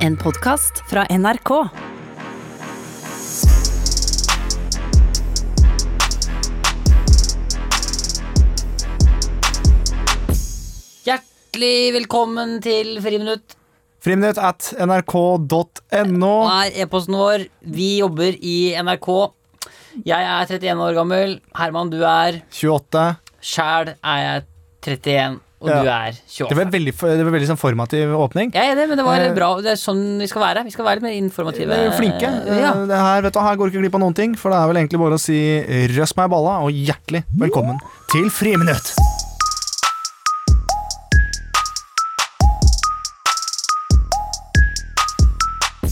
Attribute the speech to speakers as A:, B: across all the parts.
A: En podkast fra NRK.
B: Hjertelig velkommen til Friminutt.
C: Friminutt at nrk.no.
B: Nå er e-posten vår. Vi jobber i NRK. Jeg er 31 år gammel. Herman, du er
C: 28.
B: Sjæl er jeg 31, og
C: Ja.
B: du er
C: Det
B: 28.
C: ble veldig, det ble veldig sånn formativ åpning.
B: Jeg er enig, men det var
C: Eh,
B: bra. Det er sånn vi skal være. Vi skal være litt mer
C: Vi
B: informative.
C: er Flinke.
B: Ja.
C: Eh, Det her, vet du, her går ikke glipp av noen ting, for det er vel egentlig bare å si røst meg i balla, og hjertelig velkommen til Friminutt.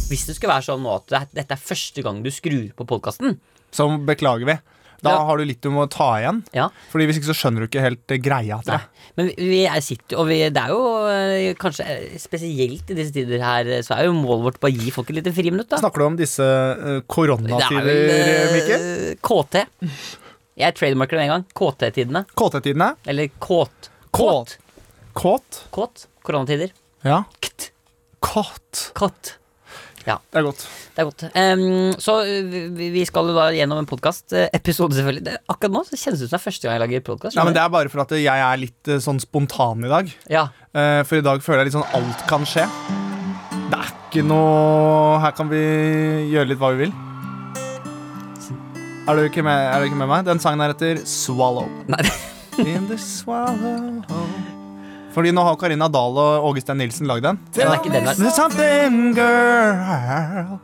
B: Hvis det skulle være sånn nå at det er- dette er første gang du skrur på podkasten
C: Så beklager vi. Da
B: Ja.
C: har du litt du må ta igjen.
B: ja.
C: Fordi Hvis ikke så skjønner du ikke helt eh, greia. Tror
B: Nei.
C: jeg.
B: Men vi- vi er sitter jo, og vi, det er jo eh, kanskje eh, spesielt i disse tider her, eh, så er jo målet vårt bare å gi folk et lite friminutt, da.
C: Snakker du om disse eh, koronatider, eh, Mikkel?
B: eh, KT. Jeg trademarker det med en gang. KT-tidene.
C: KT-tidene?
B: Eller kåt. Kåt.
C: Kåt. Kåt?
B: Kåt. Koronatider.
C: Ja.
B: Kt.
C: Kåt.
B: Kåt.
C: Det er godt.
B: Det er godt. Em, så eh, vi vi skal jo da gjennom en podkast-episode, selvfølgelig. Det, akkurat nå så kjennes det ut som det er første gang jeg lager podkast.
C: Nei, men Det er bare for at jeg er litt eh, sånn spontan i dag.
B: Ja.
C: Eh, For i dag føler jeg litt sånn alt kan skje. Det er ikke noe Her kan vi gjøre litt hva vi vil. Er du ikke med, er du ikke med meg? Den sangen er etter Swallow.
B: Nei.
C: In the swallow Fordi nå har Karina Dahl og Åge Stein Nilsen lagd den.
B: Den er ikke den der.
C: There's something, girl.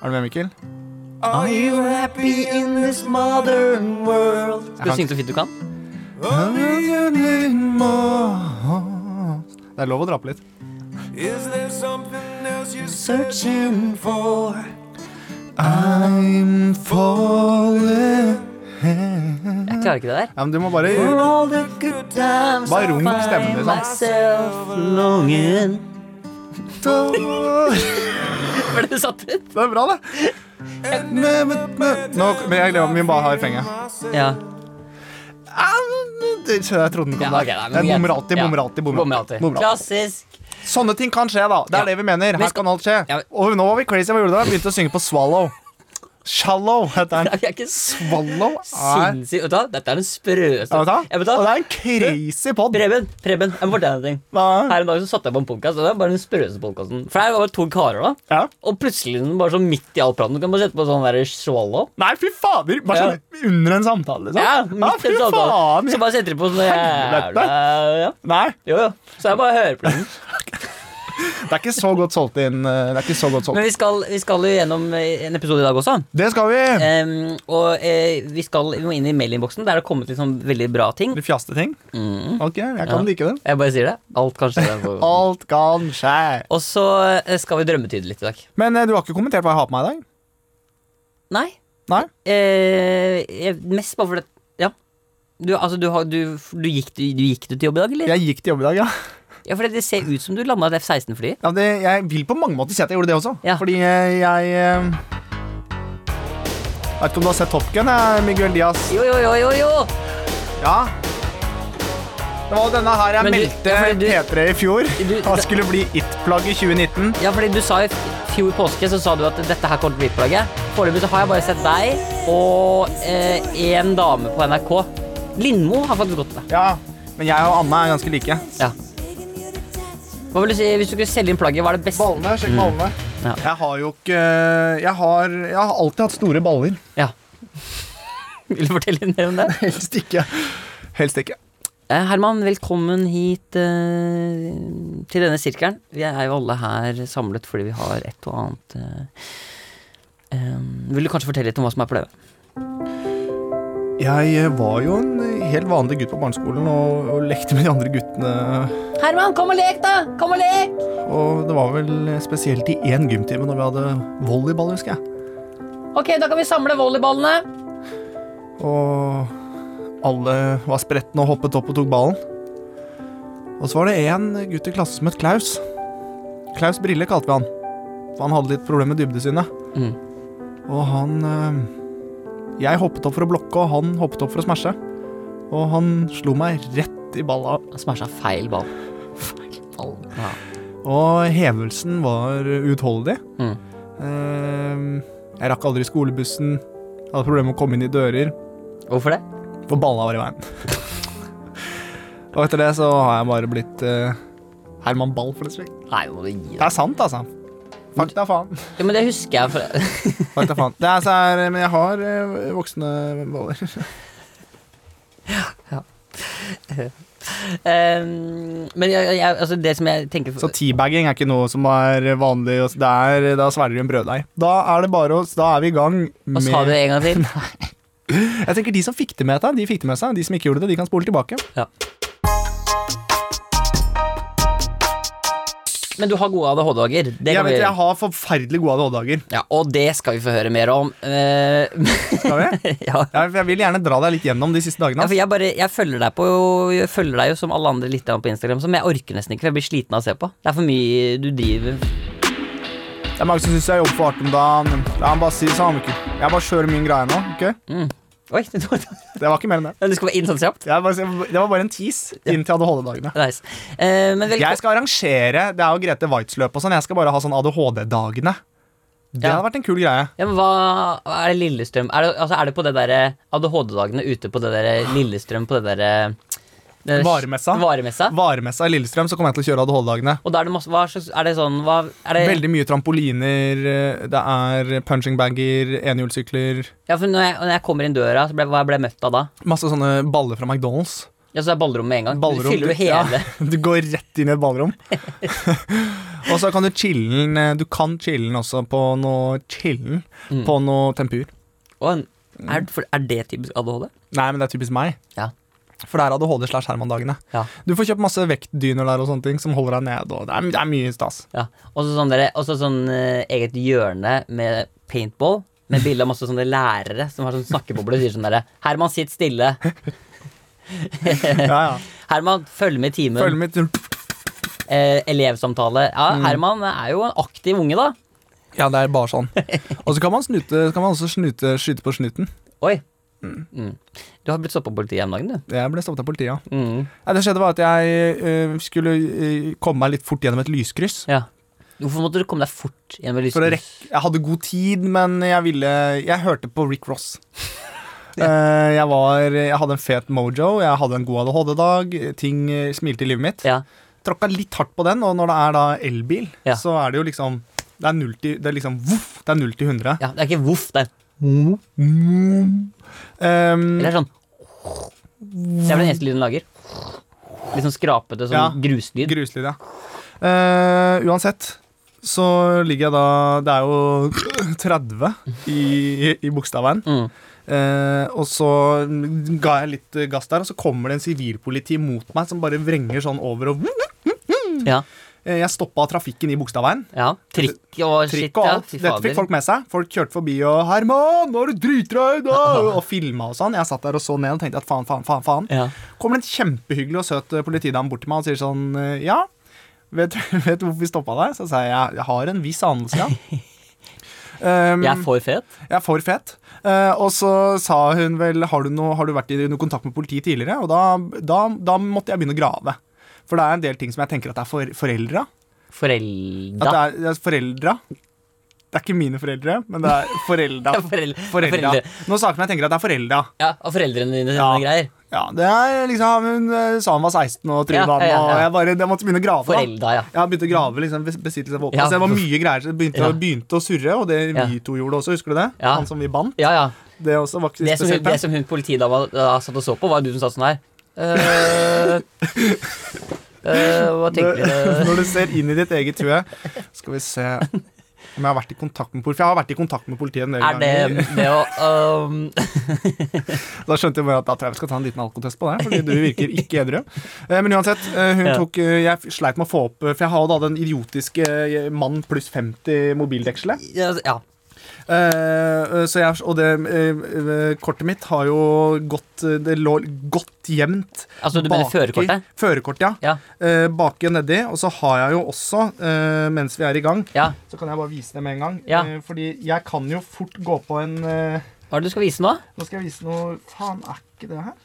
C: Er du med, Mikkel? Are you happy in this modern world?
B: Skal du synge så fint du kan?
C: Det er lov å dra på litt.
D: Is there something else you
C: searching for. I'm falling
B: Jeg klarer ikke det der.
C: Ja, men du må bare Bare runk stemmen liksom. din, sant? Det
B: Ble det satt ut?
C: er bra, det. Men, men, men. Nå, men jeg glemmer vi bare har fenga.
B: Ja.
C: Jeg trodde den kom
B: ja
C: der.
B: ok, nei, men
C: Jeg
B: greit.
C: bommer alltid, bommer
B: Ja.
C: alltid.
B: Bommer
C: bommer alltid,
B: alltid.
C: bommer alltid.
B: Klassisk.
C: Sånne ting kan skje, da. Det
B: Ja.
C: er det vi mener.
B: Vi
C: Her
B: skal-
C: kan alt skje.
B: Ja, men-
C: Og nå var vi crazy. Hva gjorde du da? Begynte å synge på Swallow. Shallow heter
B: Nei,
C: den.
B: vi er ikke så
C: Swallow er
B: sinnssykt Vet du hva? Dette er den sprøeste
C: Ja, vet du hva?
B: Jeg vet hva?
C: Og det er en crazy pod.
B: Preben, Preben, jeg må fortelle deg en ting.
C: Hva?
B: Her en dag så satte jeg på en podcast, og det var bare den sprøeste podcasten. For her var det to karer, da.
C: Ja.
B: Og plutselig den bare sånn midt i all praten. Du kan bare sette på sånn der swallow.
C: Nei, fy fader! Bare sånn under en samtale, liksom.
B: Ja, midt i
C: fy
B: en samtale.
C: faen!
B: Så bare setter de på sånn jævla ja.
C: Nei,
B: Jo, jo. Så jeg bare hører på den.
C: det er ikke så godt solgt inn. eh, Det er ikke så godt solgt.
B: Men vi skal, vi skal jo gjennom eh, en episode i dag også.
C: Det skal vi!
B: Em, og eh, vi, skal, vi må inn i mailinnboksen. Der har det kommet litt sånn veldig bra ting.
C: De fjaste ting.
B: Mm.
C: Ok, jeg kan
B: Ja.
C: like det.
B: Jeg bare sier det. Alt kan skje. den podcasten.
C: Alt kan skje.
B: Og så eh, skal vi drømmetyde litt i dag.
C: Men eh, du har ikke kommentert hva jeg har på meg i dag?
B: Nei.
C: Nei?
B: Eh, jeg- mest bare fordi Ja. Du, altså, du, har, du, du, gikk, du, du gikk du til jobb i dag, eller?
C: Jeg gikk til jobb i dag, ja.
B: Ja, fordi Det ser ut som du landa et F-16-fly.
C: ja det, jeg vil på mange måter si at jeg gjorde det også.
B: Ja.
C: Fordi eh, jeg eh, Vet ikke om du har sett Top Gun, eh, Miguel Diaz?
B: Jo, jo, jo, jo, jo!
C: Ja. Det var jo denne her jeg
B: Men du-
C: meldte
B: ja, fordi du-
C: P3 i fjor.
B: Du-
C: Han skulle bli It-plagg i 2019.
B: Ja, fordi du sa i fjor påske så sa du at dette her kommer til å bli plagget. Foreløpig så har jeg bare sett deg og én dame på NRK. Lindmo har faktisk gått med.
C: Ja, men jeg og Anna er ganske like.
B: Ja. Hva vil du si, Hvis du skulle selge inn plagget, hva er det beste?
C: Ballene, sjekk ballene.
B: Mm. Ja.
C: Jeg har jo ikke jeg har, jeg har alltid hatt store baller.
B: Ja. Vil du fortelle mer om det?
C: Helst ikke. Helst ikke.
B: Eh, Herman, velkommen hit eh, til denne sirkelen. Vi er jo alle her samlet fordi vi har et og annet eh, eh, Vil du kanskje fortelle litt om hva som er på leve?
C: Jeg var jo en helt vanlig gutt på barneskolen og, og lekte med de andre guttene.
B: Herman, kom og lek, da! Kom og lek!
C: Og det var vel spesielt i én gymtime når vi hadde volleyball, husker jeg.
B: Ok, da kan vi samle volleyballene.
C: Og alle var spretne og hoppet opp og tok ballen. Og så var det én gutt i klassen som het Klaus. Klaus Brille kalte vi han. For han hadde litt problemer med dybdesynet.
B: Mm.
C: Og han eh, Jeg hoppet opp for å blokke, og han hoppet opp for å smashe. Og han slo meg rett i balla.
B: Han smasha feil ball.
C: Ball.
B: Ja.
C: Og hevelsen var uutholdelig.
B: Mm.
C: Eh, Jeg rakk aldri skolebussen. Hadde problemer med å komme inn i dører,
B: Hvorfor det?
C: for balla var i veien. og etter det så har jeg bare blitt eh, Herman Ball, plutselig.
B: Nei, nå må du gi
C: Det
B: deg.
C: er sant, altså. Fakta faen.
B: Ja, men det husker jeg. For...
C: Fakta faen. Det er, så er, men jeg har eh, voksne baller.
B: Ehm, men jeg, jeg, altså det som jeg tenker
C: Så teabagging er ikke noe som er vanlig. og Det er, da svelger du en brøddeig. Da er det bare å Da er vi i gang
B: Hva sa du
C: med
B: en gang til?
C: Jeg tenker De som fikk det med seg, de fikk det med seg. De som ikke gjorde det, de kan spole tilbake.
B: Men du har gode ADHD-dager. Det
C: Jeg
B: kan vi
C: vet jeg
B: gjøre.
C: har forferdelig gode ADHD-dager.
B: Ja, og det skal vi få høre mer om. Eh,
C: Skal vi?
B: ja.
C: Jeg, jeg vil gjerne dra deg litt gjennom de siste dagene.
B: Ja,
C: ass.
B: for jeg, bare, jeg, følger deg på, jeg følger deg jo som alle andre litt på Instagram, som jeg orker nesten ikke, for jeg blir sliten av å se på. Det er for mye du driver
C: Det er mange som syns jeg jobber for hardt om dagen. La meg bare si det sånn. ok? Jeg bare kjører min greie nå. ok?
B: Oi, du, du
C: Det var ikke mer enn det.
B: skal være inn sånn kjapt?
C: Jeg bare, det var bare en tease inn til ADHD-dagene.
B: Nice. Eh, men velkommen
C: Jeg skal arrangere det er jo Grete Waitz-løp og sånn. Jeg skal bare ha sånn ADHD-dagene. Det
B: Ja.
C: hadde vært en kul greie.
B: ja, men hva, hva er det Lillestrøm Er det, altså, er det på det derre ADHD-dagene ute på det derre Lillestrøm på det derre det derre-
C: Varemessa.
B: Varemessa?
C: Varemessa i Lillestrøm, så kommer jeg til å kjøre ADHD-dagene.
B: Og da er det masse Hva slags Er det sånn hva, er det,
C: Veldig mye trampoliner, eh, det er punching bagger, enhjulssykler
B: Ja, for når jeg, når jeg kommer inn døra, så ble, hva ble jeg møtt av da?
C: Masse sånne baller fra McDonald's.
B: Ja, så er ballrommet med en gang.
C: Ballrom,
B: du fyller jo
C: du- ja.
B: hele
C: Du går rett inn i et ballrom. og så kan du chille'n eh, Du kan chille'n også på noe chille'n
B: Mm.
C: på noe tempur.
B: Og en, er, for, er det typisk ADHD?
C: Nei, men det er typisk meg.
B: Ja.
C: For det er ADHD slash Herman-dagene.
B: Ja.
C: Du får kjøpt masse vektdyner der og sånne ting som holder deg ned. Og det, er, det er mye stas.
B: Ja. Og så sånn, dere- og så sånn eh, eget hjørne med paintball. Med bilde av masse sånne lærere som har sånn snakkebobler og sier sånn derre Herman, sitt stille.
C: Ja, ja.
B: Herman, følg med i timen.
C: Følg med Mm. til
B: Eh, elevsamtale. Ja, Herman er jo en aktiv unge, da.
C: Ja, det er bare sånn. Og så kan man, snute, kan man også snute, skyte på snuten.
B: Oi. Mm. Du har blitt stoppa av politiet om dagen, du.
C: Jeg ble stoppet av politiet. ja.
B: Mm.
C: Nei, det skjedde var at jeg eh, skulle eh, komme meg litt fort gjennom et lyskryss.
B: Ja. Hvorfor måtte du komme deg fort gjennom et
C: For å
B: lyskryss?
C: rekke Jeg hadde god tid, men jeg ville Jeg hørte på Rick Ross. Eh, jeg, var, jeg hadde en fet mojo, jeg hadde en god ADHD-dag. Ting eh, smilte i livet mitt.
B: Ja.
C: Tråkka litt hardt på den, og når det er da elbil,
B: Ja.
C: så er det jo liksom Det er null til, det er liksom, voff, det er null til 100.
B: ja. Det er ikke voff, det.
C: Mm. Ehm,
B: Eller sånn Det er vel den eneste lyden den lager. Litt sånn skrapete, sånn
C: Ja.
B: gruslyd.
C: Gruslyd, ja. Eh, uansett så ligger jeg da Det er jo 30 i, i bokstaven.
B: Mm.
C: Eh, og så ga jeg litt eh, gass der, og så kommer det en sivilpoliti mot meg som bare vrenger sånn over og
B: Ja.
C: Eh, Jeg stoppa trafikken i Bogstadveien.
B: ja. Trikk og shit.
C: Trikk og alt.
B: Ja. Fy
C: Dette fikk
B: fader.
C: folk med seg. Folk kjørte forbi og 'Herman, nå er du dritdrøy, da!' og filma og sånn. Jeg satt der og så ned og tenkte at faen, faen, faen. faen
B: Ja.
C: kommer det en kjempehyggelig og søt eh, politidame bort til meg og sier sånn Ja, vet, vet du hvorfor vi stoppa deg? Så sa jeg jeg har en viss anelse, ja. Um,
B: Jeg er for fet.
C: jeg er for fet. Eh, og så sa hun vel Har du, noe, har du vært i noe kontakt med politiet tidligere? Og da, da, da måtte jeg begynne å grave. For det er en del ting som jeg tenker at det er for, foreldra. At det
B: Forelda.
C: er, det er foreldra. Det er ikke mine foreldre, men det er foreldra.
B: Ja, forel-
C: foreldra.
B: foreldre.
C: Noen saker som jeg tenker at det er foreldra.
B: Ja, og foreldrene dine
C: Ja.
B: sine greier.
C: Ja, det er liksom Hun eh, sa hun var 16 og truet
B: Ja, ja, ja,
C: han,
B: ja.
C: og jeg bare jeg måtte begynne å grave. da.
B: Forelda, ja.
C: Jeg har begynt å grave liksom, bes- besittelse av våpen.
B: Ja.
C: Så det var mye greier. Så det begynte,
B: Ja.
C: begynte å surre, og det
B: Ja.
C: vi to gjorde også, husker du det?
B: Ja.
C: Han som vi bandt.
B: Ja, ja.
C: Det også var ikke
B: Det som, hun-
C: spesielt
B: det
C: pent.
B: som hun politidama da satt og så på, var du som satt sånn her. Eh, eh, hva tenker du?
C: Når du ser inn i ditt eget hue Skal vi se om jeg har vært i kontakt med politiet. Jeg har vært i kontakt med politiet en del
B: Er det
C: ganger.
B: det å um,
C: Da skjønte jeg bare at da tror jeg vi skal ta en liten alkotest på det, fordi du virker ikke edru. Eh, Men uansett, eh, hun
B: Ja.
C: tok eh, Jeg sleit med å få opp eh, For jeg har jo da den idiotiske eh, mann pluss 50 mobildekselet.
B: Ja. altså, ja.
C: Eh, så jeg, og det eh, eh, kortet mitt har jo gått eh, Det lå godt gjemt.
B: Altså, du mener
C: baki-
B: førerkortet?
C: Førerkort, ja.
B: Ja.
C: Eh, baki og nedi. Og så har jeg jo også, eh, mens vi er i gang
B: ja.
C: Så kan jeg bare vise det med en gang.
B: Ja.
C: Eh, fordi jeg kan jo fort gå på en eh,
B: Hva er det du skal vise nå?
C: Nå skal jeg vise noe Faen, er ikke det her?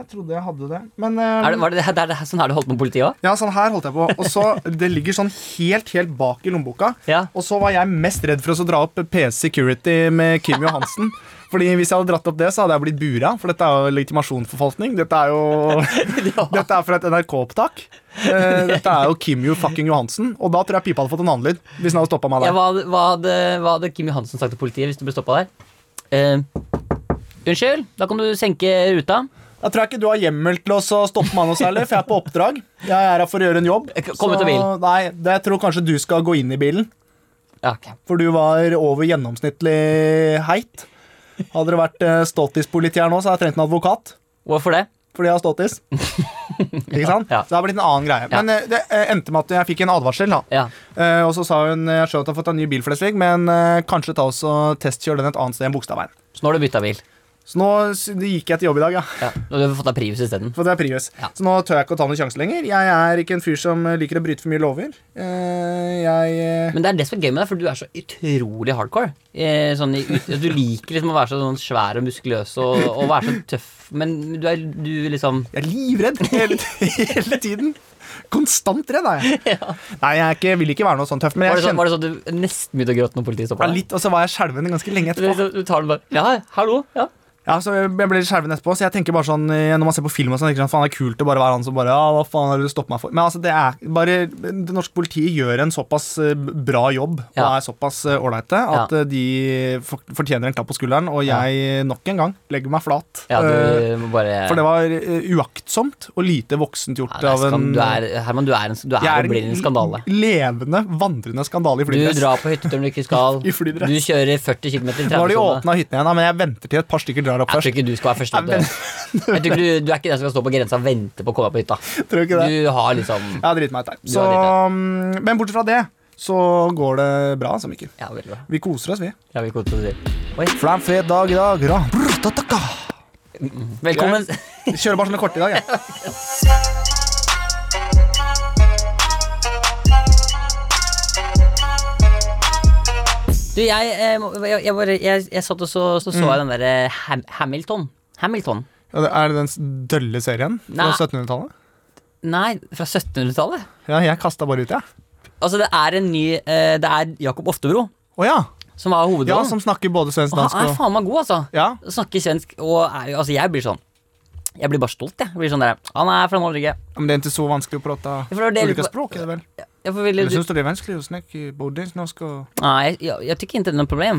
C: Jeg trodde jeg hadde det. Men eh,
B: Er det, var det, det, er det sånn her du holdt med politiet òg?
C: Ja, sånn her holdt jeg på. Og så, Det ligger sånn helt helt bak i lommeboka.
B: Ja.
C: Og så var jeg mest redd for å så dra opp PS Security med Kim Johansen. Fordi Hvis jeg hadde dratt opp det, så hadde jeg blitt bura, for dette er jo legitimasjonsforfalskning. Dette er jo Dette er fra et NRK-opptak. Eh, Dette er jo Kim Jo fucking Johansen. Og da tror jeg pipa hadde fått en annen lyd. Hvis den hadde stoppet meg
B: Ja,
C: der.
B: hva, hadde- hva, hadde, hva hadde Kim Johansen sagt til politiet hvis du ble stoppa der? Eh, unnskyld, da kan du senke ruta.
C: Jeg tror jeg ikke du har hjemmel til å så stoppe meg noe særlig, for jeg er på oppdrag. Jeg er her for å gjøre en jobb.
B: Jeg kan- kom ut av bilen.
C: Nei, det jeg tror kanskje du skal gå inn i bilen.
B: Ja, ok.
C: For du var over gjennomsnittlig heit. Hadde det vært eh, ståttispoliti her nå, så hadde jeg trengt en advokat.
B: Hvorfor det?
C: Fordi jeg har ståttis. Ikke sant?
B: Ja.
C: Så det har blitt en annen greie.
B: Ja.
C: Men eh, det eh, endte med at jeg fikk en advarsel. da.
B: Ja.
C: Eh, Og så sa hun jeg skjønner at du har fått en ny bil, Flesvig, men eh, kanskje ta oss og testkjør den et annet sted enn Bogstadveien.
B: Så nå har du bytta bil.
C: Så nå s- gikk jeg til jobb i dag, ja.
B: Ja. Nå har du fått deg Prius isteden.
C: For det er Prius.
B: Ja.
C: Så nå tør jeg ikke å ta noen sjanse lenger. Jeg er ikke en fyr som eh, liker å bryte for mye lover. Eh, Jeg eh,
B: Men det er det som er gøy med deg, for du er så utrolig hardcore. Eh, sånn, i ut- du liker liksom å være så sånn svær og muskuløs og, og være så tøff, men du er du liksom
C: Jeg er livredd hele, hele tiden. Konstant redd er jeg. Nei, jeg er ikke, vil ikke være noe sånn tøff, men
B: Var
C: jeg
B: det sånn,
C: kjenner
B: var det sånn at du nesten begynte å gråte når politiet
C: ja,
B: stoppa deg?
C: litt, og så var jeg skjelven ganske lenge
B: Du,
C: etterpå.
B: du tar den bare Ja, hallo? Ja.
C: Ja, så jeg ble litt skjelven etterpå, så jeg tenker bare sånn eh, Når man ser på film og sånn, tenker jeg sånn, faen det er kult å bare være han som bare Ja, hva faen er det du stopper meg for? Men altså, det er bare Det norske politiet gjør en såpass eh, bra jobb og
B: Ja.
C: er såpass eh, ålreite at eh, de for- fortjener en klapp på skulderen, og
B: Ja.
C: jeg eh, nok en gang legger meg flat.
B: ja,
C: Eh,
B: du må bare
C: For det var eh, uaktsomt og lite voksent
B: ja,
C: gjort
B: det er
C: av en
B: skand- du er, Herman, du er, en, du er,
C: Jeg er
B: og blir en skandale.
C: Levende, vandrende skandale i
B: Du
C: flydress.
B: drar på hyttetur når du ikke skal.
C: I flydress.
B: Du kjører 40 km i
C: Nå har de
B: 30-sone.
C: åpna hytten igjen, da, men jeg venter til et par stykker drar opp
B: Jeg tror
C: først.
B: ikke du skal være første
C: Jeg
B: ute. Jeg tror ikke du, du er ikke den som skal stå på grensa og vente på å komme deg på hytta.
C: Tror ikke det.
B: Du har liksom
C: Jeg har driti meg ut der.
B: Du
C: Så,
B: har
C: mm, men bortsett fra det, så går det bra, altså, Mikkel.
B: Ja, veldig bra.
C: Vi koser oss, vi.
B: Ja, vi koser oss litt. Oi.
C: For det er en fet dag i dag. Bra. Brr, ta, ta, ka.
B: Velkommen.
C: Jeg Kjører bare sånne korte i dag, jeg.
B: Du, jeg, eh, må- jeg, jeg, bare, jeg, jeg satt og så så, så
C: Mm.
B: jeg den derre Ham Hamilton. Hamilton.
C: Ja, det- Er det den s- dølle serien fra
B: Nei.
C: 1700-tallet?
B: Nei, fra 1700-tallet.
C: Ja, jeg kasta bare ut, jeg. Ja.
B: Altså, det er en ny eh, Det er Jakob Oftebro
C: Å ja.
B: som har
C: ja!
B: hovedrollen.
C: Som snakker både svensk,
B: og
C: dansk
B: han er
C: og
B: faen meg god, altså.
C: Ja.
B: Snakker svensk og er jo Altså, jeg blir sånn Jeg blir bare stolt, jeg. jeg blir sånn der, Han er fra Norge.
C: Men det er ikke så vanskelig å
B: for
C: prate
B: det var det
C: ulike
B: litt-
C: språk, er det vel?
B: Jeg får veldig
C: Eller syns du det er vanskelig å snakke både norsk og
B: Nei, jeg, jeg, jeg tykker ikke det er noe problem.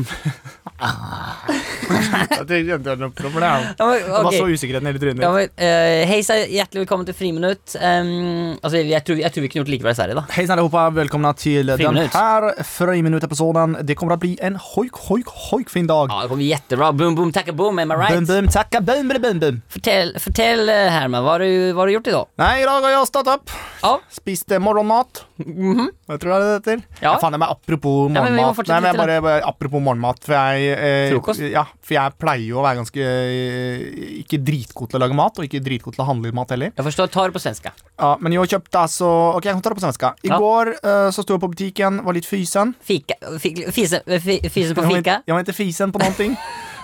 C: Jeg tenkte ikke det var noe problem.
B: Ja, men,
C: Det var
B: ok.
C: så usikkerheten hele trynet
B: Ja,
C: ditt.
B: men, eh, Hei sa hjertelig velkommen til Friminutt. Um, altså, jeg tror, jeg tror vi kunne gjort det like bra i Sverige, da.
C: Hei sann, allihopa. Välkomna till den
B: Friminut.
C: här Friminutt-episoden. Det kommer att bli en hojk, hojk, hojk fin dag.
B: Ja, det kommer jättebra. Boom, boom, tacka, boom, am I right?
C: Bum, bum, tacka, bum, bum, bum, bum.
B: Fortell, fortell eh, Herman, vad har, du, vad har du gjort idag?
C: Nej, idag har jag stått upp,
B: Ja,
C: spiste morgonmat.
B: mhm.
C: Jag tror jag det heter.
B: Ja.
C: Ja. Fan, men apropå
B: men vi må
C: morgonmat.
B: fortsette
C: Nei, men
B: litt
C: bare, bare apropå morgenmat, for jeg eh,
B: Frokost?
C: Ja, for jeg pleier jo å være ganske eh, Ikke dritgod til å lage mat, og ikke dritgod til å handle mat heller.
B: jag förstår. Ta det på svenska.
C: Ja, men jeg kjøpte altså Ok, jeg kan ta det på svensk. I
B: Ja.
C: går eh, så sto jeg på butikken, var litt fysen.
B: Fika, fik, fise, eh, fi, fise på
C: Jeg var ikke-
B: fika?
C: Jeg var ikke fysen på noen ting.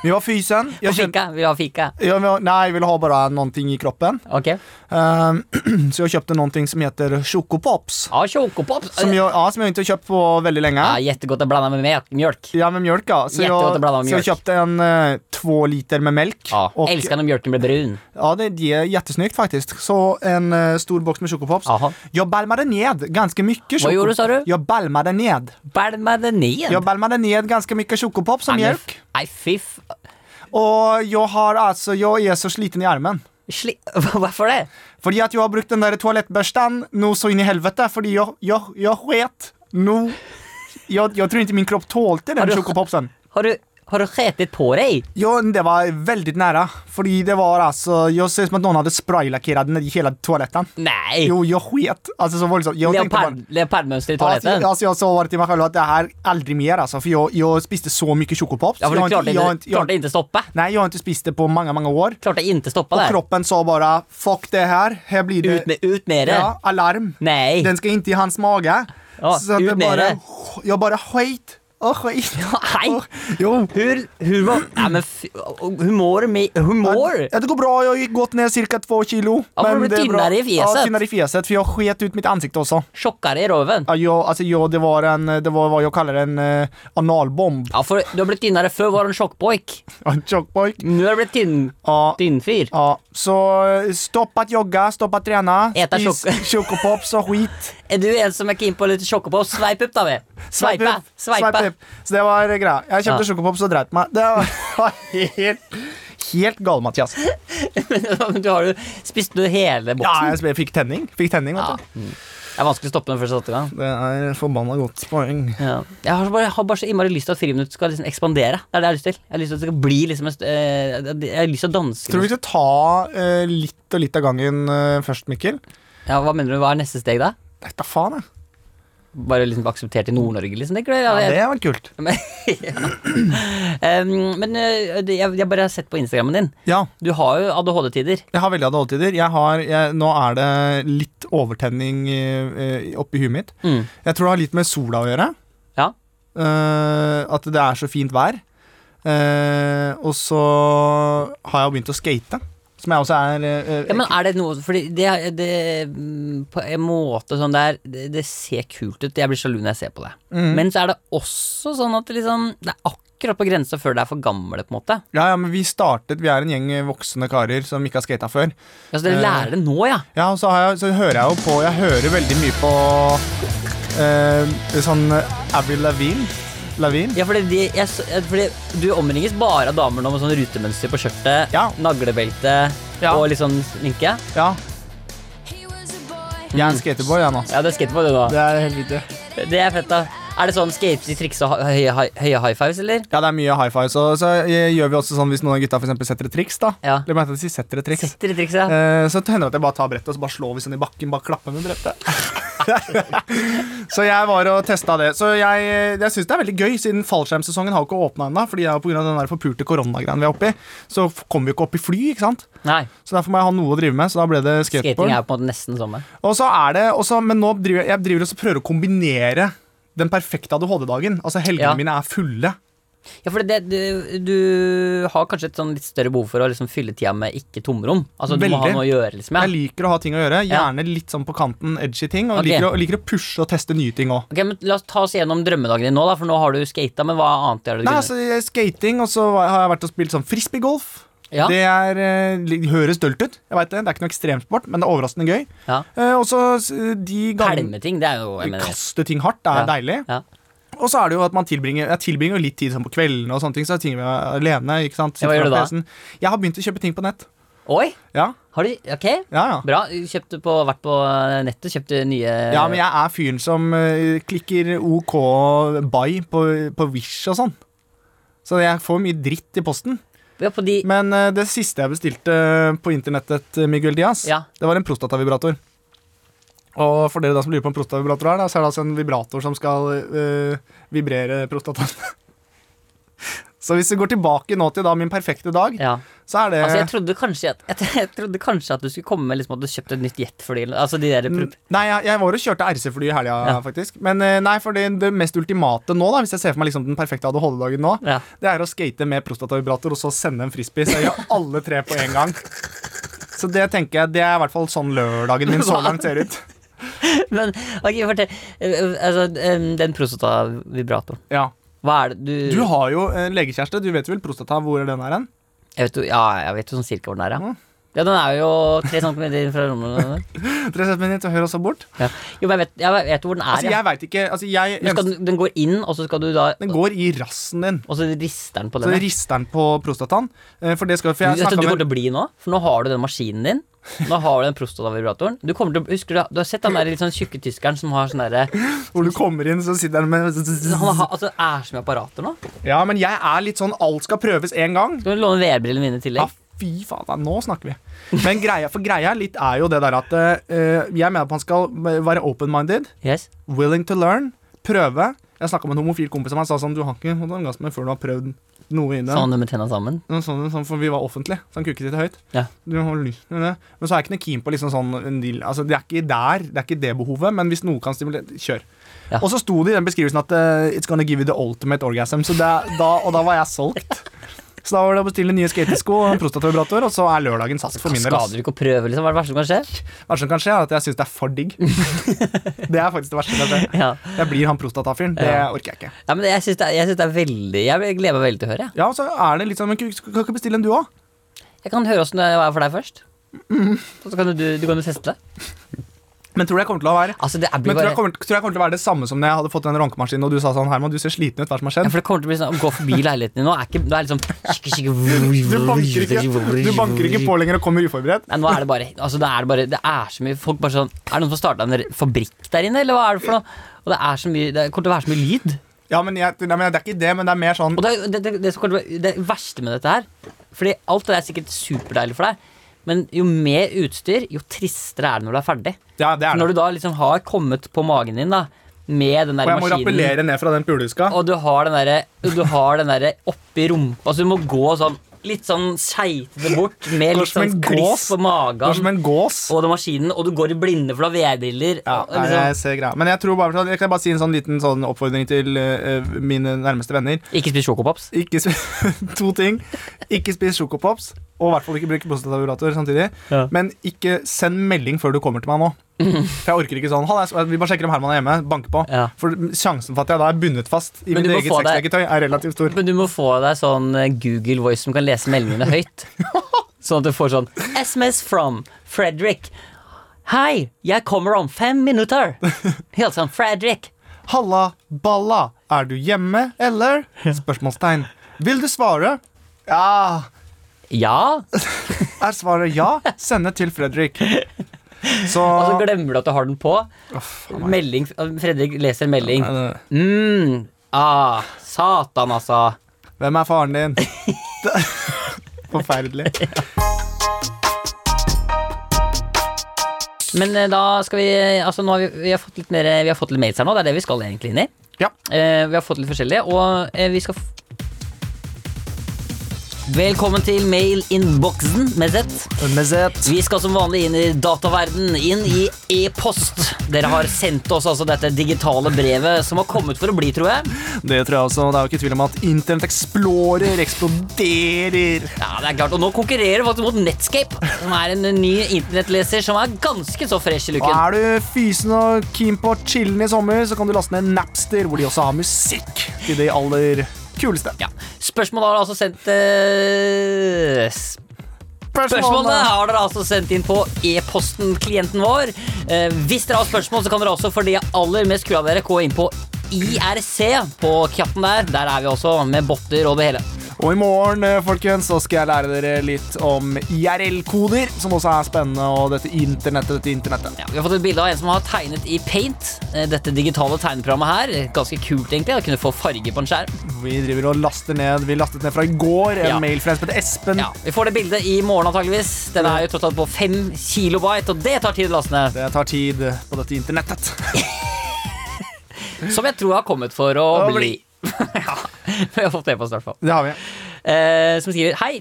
C: Vi var fysen.
B: På
C: Jeg kjente-
B: fika? Vill du ha fika?
C: Jag vill, nej, jag vill ha bara någonting i kroppen.
B: Okej.
C: Ehm, så jag köpte någonting som heter Chocopops.
B: Ja, chokopops.
C: Som jag, ja, som jag inte har köpt på väldigt länge.
B: Ja, jättegott att blanda med mjölk- mjölk.
C: Ja, med mjölk ja. Så
B: Jättegott att
C: jag,
B: blanda med
C: så jag
B: mjölk.
C: köpte en eh, två liter med mjölk.
B: Ja,
C: Och-
B: älskar när mjölken blir brun.
C: ja, det, det är jättesnyggt faktiskt. Så en eh, stor box med Chocopops.
B: Jaha.
C: Jag balmade ned ganska mycket
B: Vad
C: Choco-
B: gjorde du, sa du?
C: Jag balmade ned.
B: Balmade ner.
C: Jag balmade ned ganska mycket Chocopops och
B: Ja, men
C: mjölk.
B: f- Nej, fiff.
C: Och jag har alltså, jag är så sliten i armen.
B: Sli Varför det?
C: Fordi at jeg har brukt den der toalettbørsten noe så inn i helvete, fordi jeg, jeg, jeg sket noe jeg, jeg tror ikke min kropp tålte
B: Har
C: den
B: du-
C: sjokopopsen.
B: Har du, har du skitit på dig?
C: Ja, det var veldig nære, fordi det var altså Jeg ser ut som at noen hadde spraylakkert den i hele toaletten.
B: Nej.
C: Jo, jeg sket. Altså, så voldsomt. Jeg tenkte
B: Leopard,
C: bare
B: leopardmønster i
C: Altså,
B: toaletten?
C: jeg, altså, jeg sa til meg selv at det her aldri mer, altså. For jeg, jeg spiste så mye sjokopops.
B: Ja, for
C: Jeg
B: du
C: har ikke-
B: klarte
C: jeg har
B: ikke,
C: ikke- jeg har-
B: klarte ikke stoppe.
C: Nei, jeg har ikke spist det på mange, mange år.
B: Klarte ikke stoppe
C: Og
B: der.
C: kroppen sa bare 'fuck det her', her blir det
B: Ut med, ut med det.
C: ja, alarm.
B: Nei.
C: Den skal inte i hans mage.
B: Ja,
C: så att
B: ut
C: det
B: med
C: bara,
B: det.
C: jag bara skit Åh, hva i-
B: Nei!
C: Jo.
B: Hur, hur, var, nej men fy- humor, med- humor!
C: Ja, det går bra, jag har ju gått ner cirka två kilo.
B: Ja, för du blir
C: det är bra.
B: tynnare i fjeset.
C: Ja, tynnare i fjeset, för jag sket ut mitt ansikte också.
B: Tjockare i röven.
C: Ja, jag, alltså, jag, det var en, det var vad jag kallar en eh, analbomb.
B: Ja, for du har blitt tynnere før, var du en tjockpojk.
C: Ja, en tjockpojk.
B: Nå har du blitt tynn,
C: Ja,
B: tynnfyr.
C: ja. Så eh, stopp att jogga, stopp att träna.
B: Äta
C: Spis
B: chock-
C: chocopops og skit.
B: Er du en som er keen på litt tjokkepops? Sveip opp, da, vi. Sveipa,
C: upp,
B: sveipa.
C: upp. Så det var eh, greia. Jeg kjøpte
B: Ja.
C: chocopops og dreit meg. Det var helt, helt gal, Mathias.
B: Men du har jo spist du hele
C: Ja,
B: boksen.
C: jeg fikk tenning. Fikk tenning,
B: Ja.
C: vet du.
B: Mm. Det er vanskelig å stoppe med første åtte gang.
C: Det er forbanna godt poeng.
B: Ja. Jeg har bare, jeg har bare så innmari lyst til at friminutt skal liksom ekspandere. Det er det jeg har lyst til. Jeg har lyst til at det skal bli liksom en, st- eh, Jeg har lyst til å danse.
C: Tror du vi skal ta eh, litt og litt av gangen eh, først, Mikkel?
B: liksom. Ja, hva mener du, hva er neste steg da?
C: Dette faen, jeg.
B: Bare liksom akseptert i Nord-Norge, liksom? tenker du? Ja,
C: Ja, det
B: jeg-
C: hadde vært kult.
B: Em, men eh, det- jeg, jeg bare har sett på Instagrammen din.
C: Ja,
B: Du har jo ADHD-tider.
C: jeg har veldig ADHD-tider. Jeg har, jeg, nå er det litt overtenning eh, oppi huet mitt.
B: Mm.
C: Jeg tror det har litt med sola å gjøre.
B: Ja.
C: Eh, at det er så fint vær. Eh, og så har jeg begynt å skate, som jeg også er eh,
B: Ja, men er det noe Fordi det, det mm, På en måte sånn der det, det ser kult ut. Jeg blir sjalu når jeg ser på det.
C: Mm.
B: Men så er det også sånn at det liksom Det er akkurat på grensa før det er for gamle, på en måte.
C: Ja, ja, men vi startet, vi er en gjeng voksne karer som ikke har skata før.
B: Ja, så dere
C: Eh.
B: lærer Altså, det nå, ja.
C: Ja, og så, har jeg, så hører jeg jo på, jeg hører veldig mye på eh, sånn Avril Lavigne. Lavigne.
B: Ja, fordi, de, jeg, s- eh, fordi du omringes bare av damer nå med sånn rutemønster på skjørtet,
C: Ja.
B: naglebelte
C: Ja.
B: og litt sånn sminke.
C: Ja,
E: He was a boy.
C: jeg er en skaterboy, jeg nå.
B: Ja, det er skateboard, det da.
C: Det er helt riktig.
B: Det er fett, da. Er det sånn skates i triks og hø- høye, høye, høye high fives, eller?
C: Ja, det er mye high five, så, så eh, gjør vi også sånn hvis noen av gutta for eksempel setter et triks, da.
B: Ja.
C: Eller bare at de sier setter et triks.
B: Sitter i trikset, ja.
C: Eh, så hender det at jeg bare tar brettet og så bare slår vi sånn i bakken. Bare klapper med brettet. så jeg var og testa det. Så jeg, jeg syns det er veldig gøy, siden fallskjermsesongen har jo ikke åpna ennå. Fordi det er jo på grunn av den der forpulte koronagreien vi er oppi, så f- kommer vi jo ikke opp i fly. ikke sant?
B: Nei,
C: Så derfor må jeg ha noe å drive med. Så da ble det
B: skating
C: skateboard.
B: er på en måte nesten samme.
C: Og så er det også, Men nå driver jeg, jeg driver også og prøver å kombinere den perfekte ADHD-dagen. Altså helgene
B: Ja.
C: mine er fulle.
B: Ja, for det, du, du har kanskje et sånn litt større behov for å liksom fylle tida med ikke tomrom. Altså, du må ha
C: Veldig.
B: noe å gjøre, liksom.
C: Jeg
B: Ja.
C: liker å ha ting å gjøre.
B: Ja.
C: Gjerne litt sånn på kanten, edgy ting. Og
B: Ok.
C: liker, å, liker å pushe og teste nye ting òg.
B: Ok, men La oss ta oss gjennom drømmedagen din nå, da, for nå har du skata, men hva annet er det du
C: Nei,
B: kunne-
C: altså jeg- skating, og så har jeg vært og spilt sånn frisbeegolf.
B: Ja.
C: Det er, eh, li- høres dølt ut, jeg vet det, det er ikke noe ekstremsport, men det er overraskende gøy.
B: Ja.
C: Eh, og så eh, de gangene
B: Pælmeting, det er jo jeg mener,
C: Kaste ting hardt, det er
B: Ja.
C: deilig.
B: Ja.
C: Og så er det jo at man tilbringer Jeg tilbringer jo litt tid sånn på kveldene, og sånne ting, så er ting jeg er alene. ikke sant?
B: Ja, hva
C: Sitter
B: gjør du
C: foran
B: da?
C: PC-en. Jeg har begynt å kjøpe ting på nett.
B: Oi!
C: Ja,
B: Har du Ok,
C: ja, ja.
B: bra. Kjøpt på, vært på eh, nettet, kjøpt nye
C: Ja, men jeg er fyren som eh, klikker OK buy på, på Wish og sånn. Så jeg får mye dritt i posten.
B: Ja, på de
C: Men eh, det siste jeg bestilte på internettet, eh, Miguel Diaz,
B: Ja.
C: det var en prostatavibrator. Og for dere da som lurer på en prostatavibrator er, da, så er det altså en vibrator som skal eh, vibrere prostataen. så hvis vi går tilbake nå til da min perfekte dag,
B: ja.
C: så er det
B: Altså, jeg trodde kanskje at, jeg, jeg trodde kanskje at du skulle komme med liksom, at du kjøpte et nytt jetfly. eller- Altså, de der,
C: N- Nei, jeg, jeg var og kjørte RC-fly i helga,
B: Ja.
C: faktisk. Men eh, nei, for det, det mest ultimate nå, da hvis jeg ser for meg liksom den perfekte ADHD-dagen nå,
B: ja.
C: det er å skate med prostatavibrator og så sende en frisbee. Så jeg gjør alle tre på en gang. Så det tenker jeg, det er i hvert fall sånn lørdagen min så langt ser ut.
B: Men ok, fortell. Eh, Altså, eh, den prostatavibratoren.
C: Ja.
B: Hva er det du,
C: Du har jo en legekjæreste, du vet vel prostata, hvor er den her hen?
B: jeg vet, jo- Ja, jeg vet jo sånn cirka hvor den er, ja.
C: Mm.
B: Ja, den er jo tre centimeter fra rommet.
C: Tre minutter til høyre og så bort.
B: Ja. Jo, men jeg vet, jeg vet jo hvor den er,
C: Altså,
B: ja.
C: jeg veit ikke altså, jeg,
B: Du skal, den går inn, og så skal du da
C: Den går i rassen din.
B: Og så rister den på
C: Så
B: den. ja.
C: rister den på prostataen. eh, For det skal for jeg
B: Vet du
C: snakket
B: hva du
C: med-
B: kommer til å bli nå? For nå har du den maskinen din. Nå har du den prostatavibratoren. Du, kommer til, å- husker du, du har sett han der litt sånn tjukke tyskeren som har sånn derre
C: Hvor du kommer inn, så sitter den med
B: Han har, altså, er så mye apparater nå.
C: Ja, men jeg er litt sånn alt skal prøves én gang.
B: Skal du låne VR-brillene mine i
C: Ja,
B: tillegg?
C: fy faen, nei, nå snakker vi. Men greia, for greia litt er jo det der at eh, jeg mener at man skal være open-minded,
B: Yes.
C: willing to learn, prøve. Jeg snakka med en homofil kompis som han sa sånn Du har ikke hatt orgasme før du har prøvd noe i
B: Så
C: det.
B: han med tenna sammen.
C: Noe Sånn, sånn, for vi var offentlig, så han kunne ikke sitte høyt.
B: Ja.
C: Du har lyst til det. Men så er jeg ikke noe keen på liksom sånn en deal. Altså, det er ikke der, det er ikke det behovet, men hvis noe kan stimulere Kjør.
B: Ja.
C: Og så sto det i den beskrivelsen at eh, It's gonna give you the ultimate orgasm Så det, er- da, og da var jeg solgt Så da var det å bestille nye skatesko og en prostatavibrator Og så er lørdagen satt for min del ass.
B: Skader du ikke å prøve, liksom? Hva er det verste som kan skje?
C: Hva som kan skje er at jeg synes det er for digg Det er faktisk det verste som kan skje
B: Ja.
C: Jeg blir han prostatafyren, det
B: Ja.
C: orker jeg ikke
B: Ja, men jeg syns det, er- jeg synes det er veldig Jeg gleder meg veldig til å høre. jeg.
C: Ja, så er det litt sånn, men kan kan ikke bestille en du også?
B: Jeg kan høre åssen det er for deg først. Og så kan du, du, du kan jo teste det.
C: Men tror du jeg kommer til å være
B: Altså, det er- blir
C: men tror
B: bare
C: jeg, kommer, tror jeg kommer til å være det samme som når jeg hadde fått den rankemaskinen Og du sa sånn, Herman, du ser sliten ut, hva er det som har
B: ja,
C: skjedd?
B: for det kommer til å bli sånn å gå forbi leiligheten din nå. Er ikke, nå er det liksom skikke, skikke,
C: Du banker, ikke, du banker ikke på lenger og kommer uforberedt
B: Nei, nå er det bare Altså, det er det bare Det er så mye folk bare sånn Er det noen som har starta en re- fabrikk der inne, eller hva er det for noe? Og det er så mye Det kommer til å være så mye lyd.
C: Ja, men, jeg, nei, men det er ikke det, men det er mer sånn
B: Og det, er jo- det, det, det, som kommer til å være- det verste med dette her Fordi alt det der er sikkert superdeilig for deg, men jo mer utstyr, jo tristere er det når du er ferdig.
C: Ja, det er
B: Når
C: det.
B: du da liksom har kommet på magen din da med den der
C: Og jeg må
B: maskinen,
C: rappellere ned fra den pulehuska.
B: og du har den derre Du har den derre oppi rumpa, så du må gå sånn litt sånn skeitete bort med
C: Går
B: litt
C: som
B: sånn
C: en
B: kliss
C: gås.
B: på
C: Går som
B: magen
C: en gås.
B: og den maskinen, og du går i blinde for du har VR-briller.
C: Ja,
B: og
C: nei,
B: liksom,
C: jeg ser greia. Men jeg tror bare, jeg kan bare si en sånn liten sånn oppfordring til eh, mine nærmeste venner.
B: Ikke spis sjokopops.
C: Ikke sp to ting. Ikke spis sjokopops, og i hvert fall ikke bruk prostatavurator samtidig.
B: Ja.
C: Men ikke send melding før du kommer til meg nå. For jeg orker ikke sånn. «Hallais, Vi bare sjekker om Herman er hjemme. Banke på.
B: Ja.
C: For sjansen for at jeg da er bundet fast i
B: Men
C: mitt
B: du må
C: eget
B: få deg-
C: sexleketøy, er relativt stor.
B: Men du må få deg sånn eh, Google Voice som kan lese meldingene høyt. Sånn at du får sånn SMS from Fredrik. Hei, jeg kommer om fem minutter. Hilsen Fredrik.
C: Halla, balla, er du hjemme, eller? Spørsmålstegn. Vil du svare? Ja.
B: Ja.
C: Er svaret ja, sende til Fredrik. Så
B: Og så glemmer du at du har den på.
C: Å, faen meg. eh.
B: Melding, Fredrik leser en melding.
C: Er det-
B: Mm, ah, satan, altså.
C: Hvem er faren din? Forferdelig.
B: Men eh, da skal vi Altså, nå har vi, vi har fått litt mer eh, Vi har fått litt mails her nå. Det er det vi skal egentlig inn i.
C: Ja.
B: Eh, vi har fått litt forskjellige, og eh, vi skal f Velkommen til mail-innboksen med Z.
C: Mezet.
B: Vi skal som vanlig inn i dataverden, inn i e-post. Dere har sendt oss altså dette digitale brevet som har kommet for å bli, tror jeg.
C: Det tror jeg også. Det er jo ikke tvil om at Internett Explorer eksploderer.
B: Ja, det er klart, Og nå konkurrerer vi faktisk mot Netscape, som er en ny internettleser som er ganske så fresh i
C: Og
B: looken.
C: er du fysen og keen på å chille i sommer, så kan du laste ned Napster, hvor de også har musikk til de aller kuleste.
B: Ja. Spørsmålet har altså sendt eh, s- Spørsmålene har dere altså sendt inn på e-posten klienten vår. Eh, hvis dere har spørsmål, så kan dere også for de aller mest kule av dere gå inn på IRC på kjappen der. Der er vi også med botter og det hele.
C: Og i morgen eh, folkens, så skal jeg lære dere litt om IRL-koder, som også er spennende, og dette internettet, dette internettet.
B: Ja, vi har fått et bilde av en som har tegnet i paint. eh, Dette digitale tegneprogrammet her. Ganske kult, egentlig. Å kunne få farge på en skjerm.
C: Vi driver og laster ned, vi lastet ned fra i går en
B: Ja.
C: mail fra en som heter Espen.
B: Ja, Vi får det bildet i morgen, antageligvis. Den er jo tross alt på fem kilobyte, og det tar tid å laste ned.
C: Det tar tid på dette internettet.
B: Som jeg tror har kommet for å
C: Å
B: bli. ja, Vi har fått det på oss, i hvert fall.
C: Det har vi.
B: eh, som skriver Hei,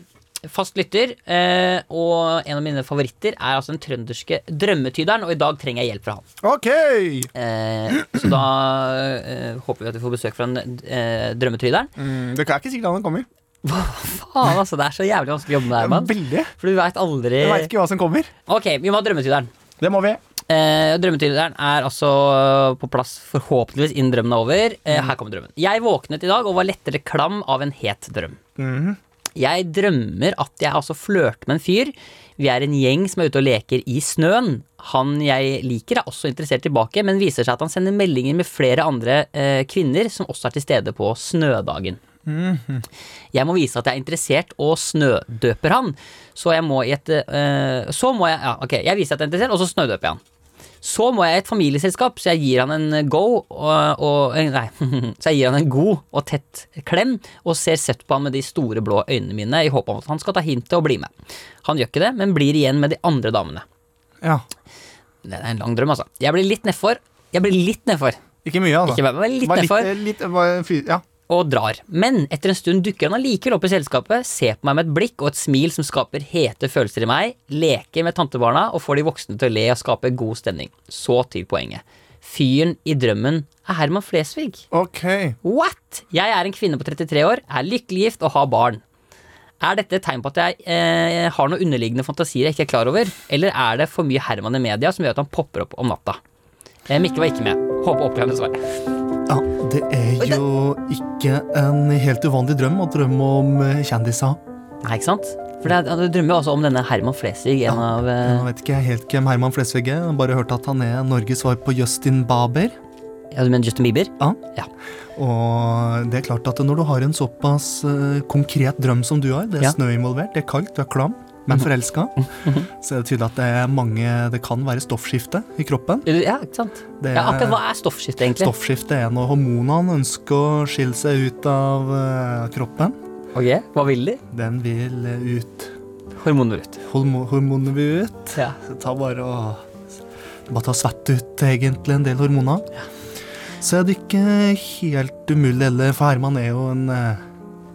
B: fast lytter, eh, og en av mine favoritter er altså den trønderske drømmetyderen, og i dag trenger jeg hjelp fra han.
C: Ok!
B: Eh, så da eh, håper vi at vi får besøk fra den eh, drømmetyderen.
C: Mm, det er ikke sikkert han kommer.
B: Faen, altså, det er så jævlig vanskelig å jobbe med det her, mann.
C: Veldig.
B: For du veit aldri
C: Jeg veit ikke hva som kommer.
B: Ok, vi må ha drømmetyderen.
C: Det må vi.
B: Eh, drømmetyderen er altså eh, på plass forhåpentligvis innen drømmen er over. Eh, her kommer drømmen. Jeg våknet i dag og var lettere klam av en het drøm. Jeg drømmer at jeg altså flørter med en fyr. Vi er en gjeng som er ute og leker i snøen. Han jeg liker, er også interessert tilbake, men viser seg at han sender meldinger med flere andre eh, kvinner som også er til stede på snødagen. Jeg må vise at jeg er interessert og snødøper han. Så jeg må i et eh, Så må jeg Ja, ok, jeg viser at jeg er interessert, og så snødøper jeg han. Så må jeg i et familieselskap, så jeg gir han en eh, go og, og eh, Nei, så jeg gir han en god og tett klem og ser søtt på han med de store blå øynene mine i håp om at han skal ta hintet og bli med. Han gjør ikke det, men blir igjen med de andre damene.
C: Ja.
B: Det er en lang drøm, altså. Jeg blir litt nedfor. Jeg blir litt nedfor
C: Ikke mye, altså.
B: Ikke bare- bare litt
C: Bare litt,
B: nedfor.
C: eh, litt, eh, bare fy- ja.
B: og drar. Men etter en stund dukker han allikevel opp i selskapet, ser på meg med et blikk og et smil som skaper hete følelser i meg, leker med tantebarna og får de voksne til å le og skape god stemning. Så til poenget. Fyren i drømmen er Herman Flesvig.
C: Ok.
B: What? Jeg er en kvinne på 33 år, er lykkelig gift og har barn. Er dette et tegn på at jeg eh, har noen underliggende fantasier jeg ikke er klar over, eller er det for mye Herman i media som gjør at han popper opp om natta? Eh, Mikkel var ikke med. Håper oppklarende svar.
C: Ja, det er jo ikke en helt uvanlig drøm å drømme om eh, kjendiser.
B: Nei, ikke sant? For det, er- du drømmer jo også om denne Herman Flesvig, en av
C: Jeg
B: eh,
C: vet ikke helt hvem Herman Flesvig er, jeg har bare hørt at han er Norges svar på Justin Baber.
B: Ja, du mener Justin Bieber?
C: Ja.
B: Ja.
C: Og det er klart at når du har en såpass eh, konkret drøm som du har, det er
B: Ja. Mhm.
C: snø involvert, det er kaldt, du er klam, men forelska, så er det tydelig at det er mange Det kan være stoffskifte i kroppen.
B: Ja, ikke sant?
C: Det
B: Ja, akkurat hva
C: er,
B: er stoffskifte, egentlig?
C: stoffskifte er når hormonene ønsker å skille seg ut av eh, kroppen.
B: Ok, Hva vil de?
C: Den vil eh, ut.
B: Hormoner ut.
C: Hormo hormonene vil ut.
B: Ja.
C: Det tar bare å det bare tar svett ut, egentlig, en del hormoner. Så er det ikke helt umulig heller, for Herman er jo en eh,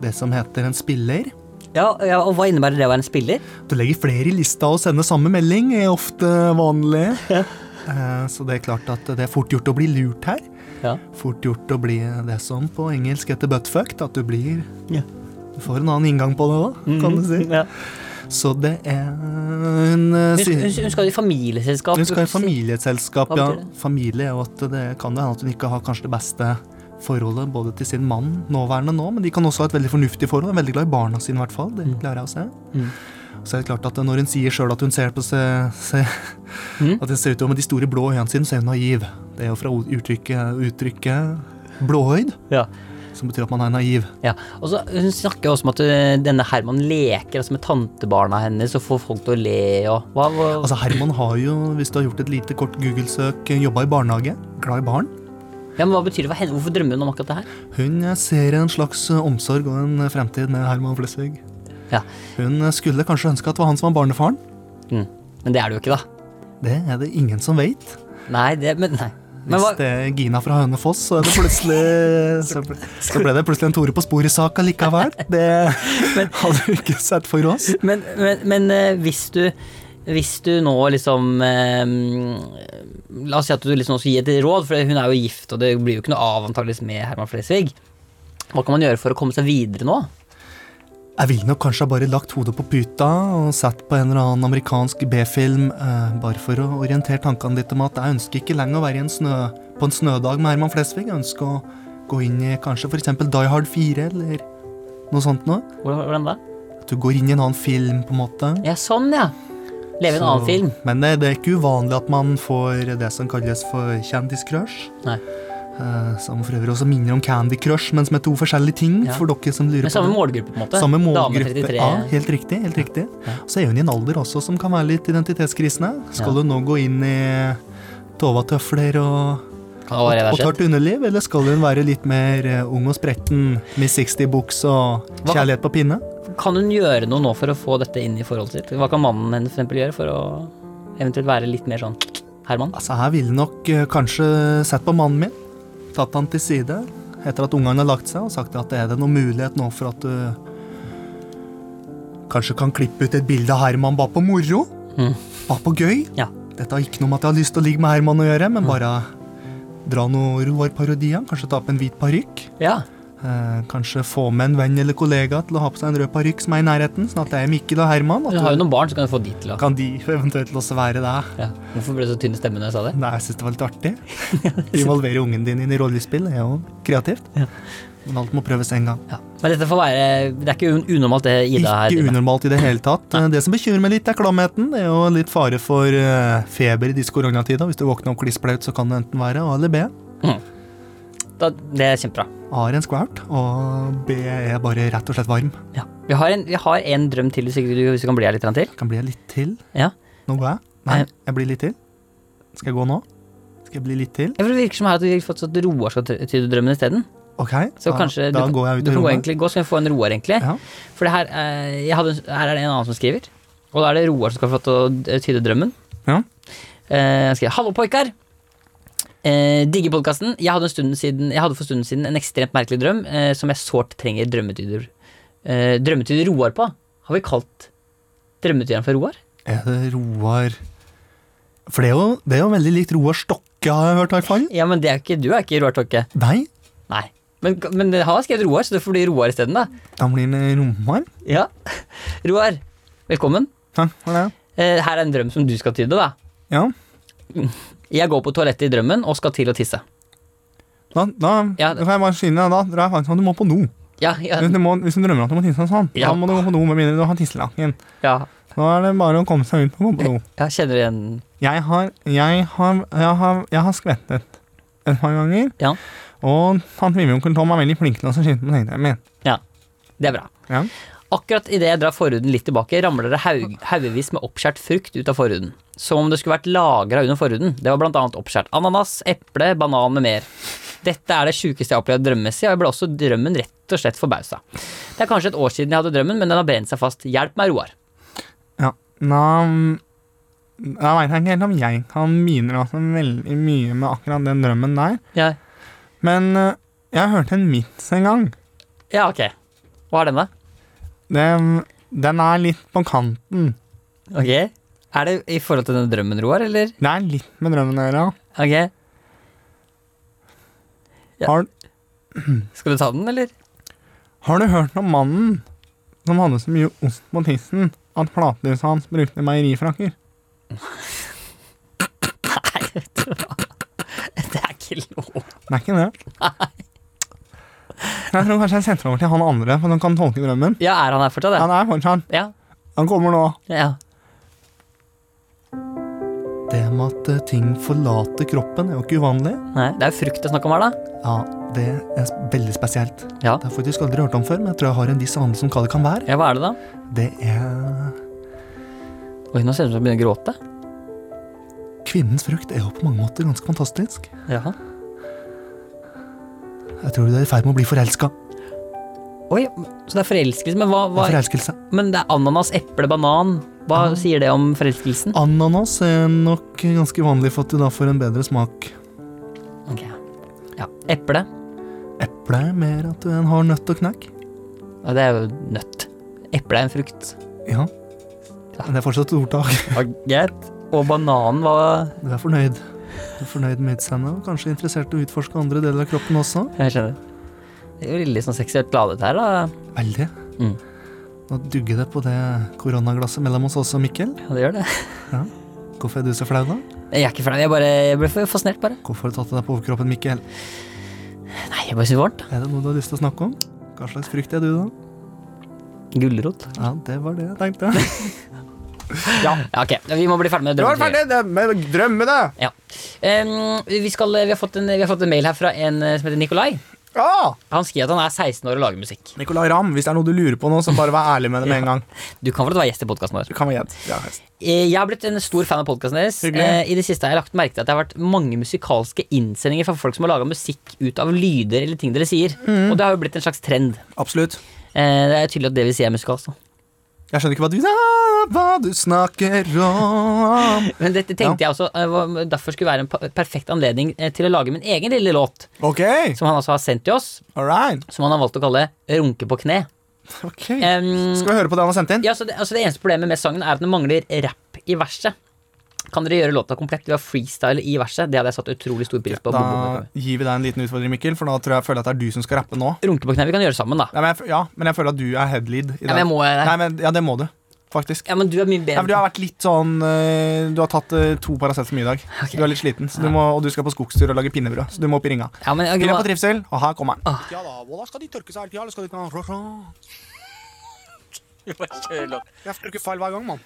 C: det som heter en spiller.
B: Ja, ja, og hva innebærer det å være en spiller?
C: Du legger flere i lista og sender samme melding, er ofte vanlig. Eh, Så det er klart at det er fort gjort å bli lurt her.
B: Ja.
C: Fort gjort å bli det som på engelsk heter buttfucked, at du blir
B: Ja. Mhm.
C: Du får en annen inngang på det da, kan du si.
B: Mm, Ja.
C: Så det er hun eh,
B: Hun,
C: sier-
B: hun, hun skal i familieselskap.
C: Hun skal i
B: ikke sant?
C: familieselskap,
B: Hva
C: ja.
B: betyr det?
C: Familie er jo at det kan det hende at hun ikke har kanskje det beste forholdet både til sin mann nåværende nå, men de kan også ha et veldig fornuftig forhold. er Veldig glad i barna sine, i hvert fall. Det klarer jeg å se.
B: Mm.
C: Så er det klart at når hun sier sjøl at hun ser på seg se,
B: Mm.
C: At det ser ut som med de store blå øynene sine, så er hun naiv. Det er jo fra uttrykket, uttrykket blåøyd,
B: Ja.
C: som betyr at man er naiv.
B: Ja, og så Hun snakker jo også om at øh, denne Herman leker altså med tantebarna hennes og får folk til å le og hva, hva?
C: Altså Herman har jo, hvis du har gjort et lite kort Google-søk, jobba i barnehage. Glad i barn.
B: Ja, men hva betyr det for henne? Hvorfor drømmer hun om akkurat det her?
C: Hun ser en slags eh, omsorg og en eh, fremtid med Herman Flesvig.
B: Ja,
C: Hun eh, skulle kanskje ønske at det var han som var barnefaren.
B: mm. Men det er det jo ikke, da.
C: Det er det ingen som vet.
B: Nei, det Men, nei. men
C: Hvis
B: hva,
C: det er Gina fra Hønefoss, så, er det plutselig- så, ble, så ble det plutselig en Tore på sporet-sak allikevel. Det hadde vi ikke sett for oss.
B: men, men, men øh, hvis du hvis du nå liksom eh, La oss si at du liksom også gir et råd, for hun er jo gift, og det blir jo ikke noe av antageligvis med Herman Flesvig. Hva kan man gjøre for å komme seg videre nå?
C: Jeg ville nok kanskje ha bare lagt hodet på puta og sett på en eller annen amerikansk B-film, eh, bare for å orientere tankene litt om at jeg ønsker ikke lenger å være i en snø, på en snødag med Herman Flesvig. Jeg ønsker å gå inn i kanskje for eksempel Die Hard 4 eller noe sånt noe.
B: Hvordan, hvordan da?
C: At du går inn i en annen film, på en måte.
B: Ja, sånn, ja. Leve i en
C: Så-
B: annen film.
C: Men det, det er ikke uvanlig at man får det som kalles for kjendiscrush.
B: Nei.
C: eh, som for øvrig også minner om Candy Crush, men som er to forskjellige ting.
B: Ja.
C: for dere som lurer
B: Med samme
C: på det.
B: målgruppe, på en måte.
C: Samme
B: Dame
C: målgruppe.
B: 33.
C: Ja, helt riktig. helt riktig. Så er hun i en alder også som kan være litt identitetskrisende. Skal
B: Ja.
C: hun nå gå inn i Tova-tøfler og,
B: Kan det
C: og,
B: være
C: og
B: reversert?
C: tørt underliv, eller skal hun være litt mer eh, ung og spretten, Miss 60-buks og
B: Hva-
C: kjærlighet på pinne?
B: Kan hun gjøre noe nå for å få dette inn i forholdet sitt? Hva kan mannen hennes for eksempel gjøre for å eventuelt være litt mer sånn Herman?
C: Altså, her ville nok eh, kanskje sett på mannen min, tatt han til side etter at ungene har lagt seg, og sagt at er det noen mulighet nå for at du kanskje kan klippe ut et bilde av Herman bare på moro?
B: Mm.
C: Bare på gøy?
B: Ja.
C: Dette har ikke noe med at jeg har lyst til å ligge med Herman å gjøre, men bare dra noe Roar-parodier, kanskje ta på en hvit parykk.
B: Ja.
C: Eh, kanskje få med en venn eller kollega til å ha på seg en rød parykk som er i nærheten, sånn at det er Mikkel og Herman.
B: Hun har jo
C: At du,
B: noen barn, så kan hun få de til å
C: kan de eventuelt også være deg?
B: ja. Hvorfor ble det så tynn stemme når jeg sa det?
C: Nei, jeg syns det var litt artig. Involvere ungen din inn i rollespill er jo kreativt.
B: Ja.
C: Men alt må prøves en gang.
B: Ja. Men dette får være Det er ikke un unormalt, det Ida her
C: Ikke
B: driver med.
C: unormalt i det hele tatt. Det som bekymrer meg litt, er klamheten. Det er jo litt fare for eh, feber i disse koronatider. Hvis du våkner opp klissblaut, så kan det enten være A eller B.
B: Mm. Da, det er kjempebra.
C: A er en skvært, og B er bare rett og slett varm.
B: Ja. Vi, har en, vi har en drøm til, hvis ikke du, hvis du kan bli her litt grann til.
C: Kan bli litt til.
B: Ja. Eh.
C: Nå går jeg. Nei,
B: Nei.
C: jeg blir litt til. Skal jeg gå nå? Skal jeg bli litt til?
B: Jeg tror det virker som her at vi har fått sånn at Roar skal ty- tyde drømmen isteden.
C: Ok,
B: Så
C: da,
B: kanskje
C: da
B: du,
C: går jeg ut
B: du kan
C: av
B: gå
C: rommet.
B: egentlig, gå, så kan vi få en Roar, egentlig.
C: Ja.
B: For det her, eh, jeg hadde, en- her er det en annen som skriver. Og da er det Roar som skal få lov til å d- eh, tyde drømmen.
C: Ja.
B: Eh, han skriver Hallo, poikar! Eh, digger podkasten. Jeg, hadde en stund siden- jeg hadde for stunden siden en ekstremt merkelig drøm eh, som jeg sårt trenger drømmetyder eh, Drømmetyder Roar på. Har vi kalt drømmetyderen for Roar?
C: Er det Roar For det er jo, det er jo veldig likt Roar Stokke, Tokke har jeg hørt, i hvert fall.
B: Ja, men det er jo ikke, du er ikke Roar Tokke.
C: Nei,
B: Nei. Men, men jeg har skrevet Roar, så det får bli Roar isteden, da.
C: da blir det Romar. Sånn,
B: Ja. Roar, velkommen.
C: Ja, hva er det?
B: Eh, Her er en drøm som du skal tyde, da.
C: Ja,
B: Jeg går på toalettet i drømmen og skal til å tisse.
C: da, da
B: Ja.
C: da kan jeg bare skyne deg. Da drar jeg faktisk at du må på do.
B: Ja, ja,
C: Hvis du, må, hvis du drømmer at du må tisse sånn,
B: Ja.
C: da må du gå på do med mindre du har tisselaken.
B: ja.
C: Da er det bare å komme seg ut og gå på do.
B: Jeg kjenner igjen
C: Jeg har, jeg har, jeg har, jeg har skvettet et par ganger.
B: Ja.
C: Og han Vibjørn Tom er veldig flink til å skyte på tenkningen min.
B: Det er bra.
C: Ja.
B: Akkurat idet jeg drar forhuden litt tilbake, ramler det haug- haugevis med oppskjært frukt ut av forhuden. Som om det skulle vært lagra under forhuden. Det var blant annet oppskjært ananas, eple, banan med mer. Dette er det sjukeste jeg har opplevd drømmemessig, og jeg ble også drømmen rett og slett forbausa. Det er kanskje et år siden jeg hadde drømmen, men den har brent seg fast. Hjelp meg, Roar.
C: Ja. Da, da veit jeg ikke helt om jeg kan bidra så veldig mye med akkurat den drømmen der.
B: Ja,
C: Men eh, jeg hørte en vits en gang.
B: ja ok. Hva er den, da?
C: Den, den er litt på kanten.
B: Ok. Er det i forhold til den drømmen, Roar, eller?
C: Det er litt med drømmen å gjøre.
B: Ok. Ja.
C: Har,
B: Skal du ta den, eller?
C: har du hørt om mannen som hadde så mye ost på tissen at platehuset hans brukte meierifrakker?
B: Nei, vet du hva. Det er ikke lov.
C: Det er ikke det. Jeg tror kanskje jeg setter over til han andre, for han kan tolke drømmen.
B: Ja, er han her fortsatt? Ja.
C: Han er fortsatt.
B: ja.
C: Han kommer nå.
B: ja.
C: Det med at eh, ting forlater kroppen, er jo ikke uvanlig.
B: Nei, det er jo frukt det er snakk om her, da.
C: Ja, det er s- veldig spesielt.
B: Ja.
C: Det har jeg faktisk aldri hørt om før, men jeg tror jeg har en viss anelse om hva det kan være.
B: ja, hva er det da?
C: Det er
B: Oi, nå ser det ut som jeg begynner å gråte.
C: Kvinnens frukt er jo på mange måter ganske fantastisk.
B: Ja.
C: Jeg tror du er i ferd med å bli forelska.
B: Oi, så det er forelskelse, men hva, hva
C: Forelskelse.
B: Men det er Ah. ananas, eple, banan. Hva sier det om forelskelsen?
C: Ananas er nok ganske vanlig for at du da får en bedre smak.
B: Ok. Ja. Eple.
C: Eple er mer at du har nøtt og knekk.
B: Ja, det er jo nøtt. Eple er en frukt.
C: Ja.
B: Ja.
C: Men det er fortsatt et ordtak.
B: Ja, Greit. Og bananen var
C: Du er fornøyd. Du er fornøyd med utseendet og kanskje interessert i å utforske andre deler av kroppen også.
B: Jeg skjønner. Det er jo litt sånn seksuelt ladet her, da.
C: Veldig.
B: Mm.
C: Nå dugger det på det koronaglasset mellom oss også, Mikkel.
B: Ja, det gjør det.
C: Hvorfor er du så flau, da?
B: Jeg er ikke flau, jeg bare jeg ble fascinert, bare.
C: Hvorfor har du tatt av deg på overkroppen, Mikkel?
B: Nei, jeg bare syns det var varmt.
C: Er det noe du har lyst til å snakke om? Hva slags frukt er du, da?
B: Gulrot.
C: Ja, det var det jeg tenkte.
B: Ja. ok. Vi må bli ferdig med drømmetyveriet.
C: med drømmene!
B: Ja. Em, vi, skal, vi, har fått en, vi har fått en mail her fra en eh, som heter Nikolai.
C: Ah!
B: Han skriver at han er 16 år og lager musikk.
C: Nicolay Ramm, hvis det er noe du lurer på nå, så bare vær ærlig med det med en gang.
B: Du kan vel være gjest i podkasten vår.
C: Du kan være gjett. Ja, hest.
B: Eh, Jeg har blitt en stor fan av podkasten deres.
C: Hyggelig.
B: Eh, I det siste har jeg lagt merke til at det har vært mange musikalske innsendinger fra folk som har laga musikk ut av lyder eller ting dere sier. Og det har jo blitt en slags trend.
C: Absolutt.
B: Eh, Det er tydelig at det vi sier, er musikalsk. da.
C: Jeg skjønner ikke hva du Ja, Hva du snakker om.
B: Men dette tenkte jeg også eh, var- derfor skulle være en pa- perfekt anledning eh, til å lage min egen lille låt,
C: OK,
B: som han altså har sendt til oss,
C: all right.
B: som han har valgt å kalle 'Runke på kne'.
C: Ok.
B: Em,
C: Skal vi høre på det han har sendt inn?
B: Mm. Ja, så det, altså det eneste problemet med sangen er at den mangler rap i verset. Kan dere gjøre låta komplett ved å freestyle i verset? Det hadde jeg satt utrolig stor pris på.
C: Da
B: Bobo.
C: gir vi deg en liten utfordring, Mikkel, for da tror jeg jeg føler at det er du som skal rappe nå.
B: Runke på kne, vi kan gjøre sammen, da.
C: Nei, men jeg, f- ja, men jeg føler at du er headlead. I
B: Ja, men jeg
C: dag.
B: må eh,
C: Nei, men, ja, det må du, faktisk.
B: Ja, men du er mye
C: Nei,
B: bedre.
C: for du har vært litt sånn eh, Du har tatt eh, to Paracet for mye i dag.
B: Ok.
C: Du er litt sliten, så du må, og du skal på skogstur og lage pinnebrød. Så du må opp i ringa.
B: Ja, men, ok,
C: Pinne
B: hva-
C: på trivsel, og her kommer han.
B: Ah.
C: Ja da, og da skal de tørke seg hele tida, eller skal de ikke Jeg trykker feil hver gang, mann.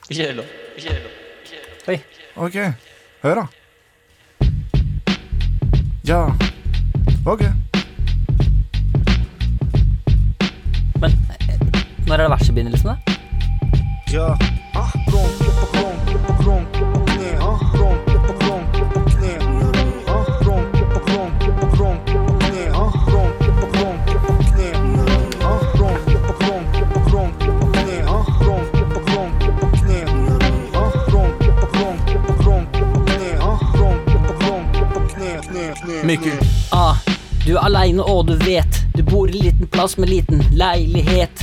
B: Oi.
C: Ok, hør da. Ja, ok.
B: Men eh, når er det versebegynnelsen, da?
C: Ja. Ah, Ah, Ah, Ah, Mikkel.
B: Ah, du er aleine, og du vet. Du bor i liten plass med liten leilighet.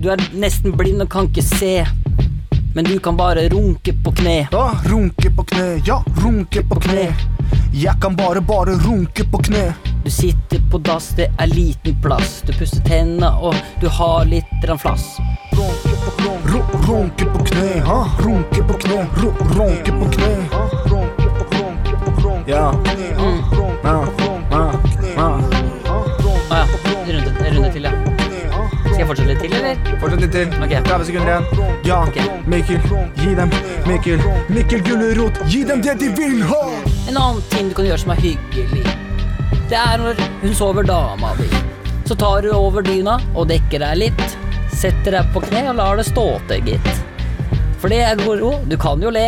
B: Du er nesten blind og kan ikke se, men du kan bare runke på kne.
C: Ja, runke på kne, ja, runke på kne. Jeg kan bare, bare runke på kne.
B: Du sitter på dass, det er liten plass. Du pusser tenna, og du har litt grann flass.
C: Runke på kne. Ru, runke på kne. Ha? Runke på kne. Ru, runke på kne. Ha? Runke på runke på runke ja. på kne. Ha? Runke på runke på kne. Ha? Runke
B: Å Ah, ja. Runde, runde til, ja. Skal jeg fortsette litt til, eller?
C: Fortsett litt til.
B: Ok.
C: 30 sekunder igjen. Ja,
B: Ok.
C: Mikkel, gi dem. Mikkel, Mikkel Gulrot, gi dem det de vil ha!
B: En annen ting du kan gjøre som er hyggelig, det er når hun sover dama di. Så tar du over dyna og dekker deg litt. Setter deg på kne og lar det stå til, gitt. For det er moro. Du kan jo le.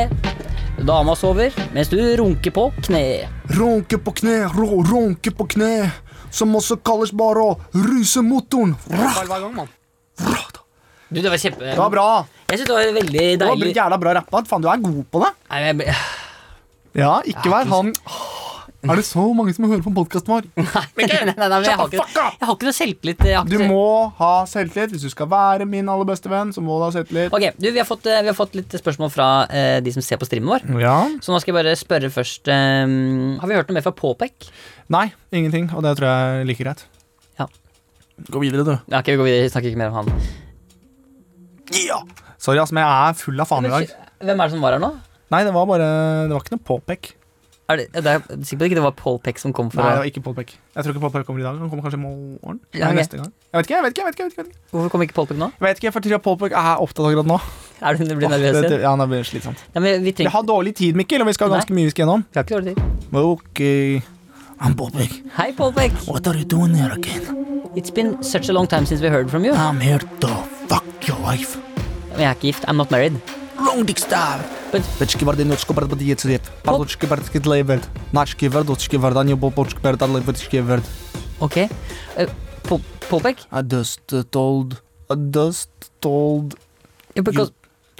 B: Dama sover mens du runker på kneet.
C: Runke på kne, ro, runke på kne. Som også kalles bare å ruse motoren.
B: Du, det var kjempe...
C: Det var bra.
B: Jeg syns det var veldig
C: Det var
B: deilig.
C: Jævla bra rappa. Faen, du er god på det.
B: Nei, men jeg ble...
C: Ja, ikke vær han Er det så mange som hører på podkasten vår?
B: Nei, nei, nei, nei, men jeg, har ikke, jeg har ikke noe selvtillit. Jeg har
C: Du
B: ikke-
C: må ha selvtillit. Hvis du skal være min aller beste venn, så må du ha selvtillit.
B: Ok, du, vi har fått, eh, vi har fått litt spørsmål fra eh, de som ser på streamen vår.
C: Ja.
B: Så nå skal jeg bare spørre først eh, Har vi hørt noe mer fra Påpek?
C: Nei, ingenting. Og det tror jeg er like greit.
B: Ja.
C: Gå videre, du.
B: Ja, ok, vi går videre, vi snakker ikke mer om han.
C: Ja! Sorry, ass, men jeg er full av faen i dag.
B: Hvem er det som var her nå?
C: Nei, det var bare Det var ikke noe påpek.
B: Er det, det er sikkert ikke det var Påpek som kom
C: Nei, det
B: fra
C: var ikke påpek. Jeg tror ikke påpek kommer i dag. Han kommer kanskje i morgen?
B: Ja,
C: Nei,
B: ok.
C: neste gang. Jeg vet ikke, jeg vet ikke. jeg vet ikke, jeg vet ikke, jeg vet ikke.
B: Hvorfor kom ikke Påpek nå?
C: Jeg vet ikke, for Tria Påpek er opptatt akkurat nå.
B: Er du blir
C: Åh,
B: nervøs
C: det- det-
B: igjen?
C: Ja, det blir slitsomt.
B: Ja, men vi
C: Vi
B: trenger
C: har dårlig tid, Mikkel, og vi skal ha ganske mye vi skal gjennom.
B: Vi har ikke dårlig tid.
C: Ok. I'm Påpek.
B: Hei, Påpek.
C: What are you doing here again?
B: It's been such a long time since we heard from you.
C: I'm here to fuck your wife.
B: Men jeg er ikke gift. I'm not married.
C: Long dick star.
B: But
C: Веточки варды, ночку барда подъедет лет. Палочки бардки длайверд. Начки верд, очки верда, не бобочки берда, лайвердочки верд.
B: ok. Eh, Pol- Påpek?
C: I just uh, told... I just told...
B: Yeah, because,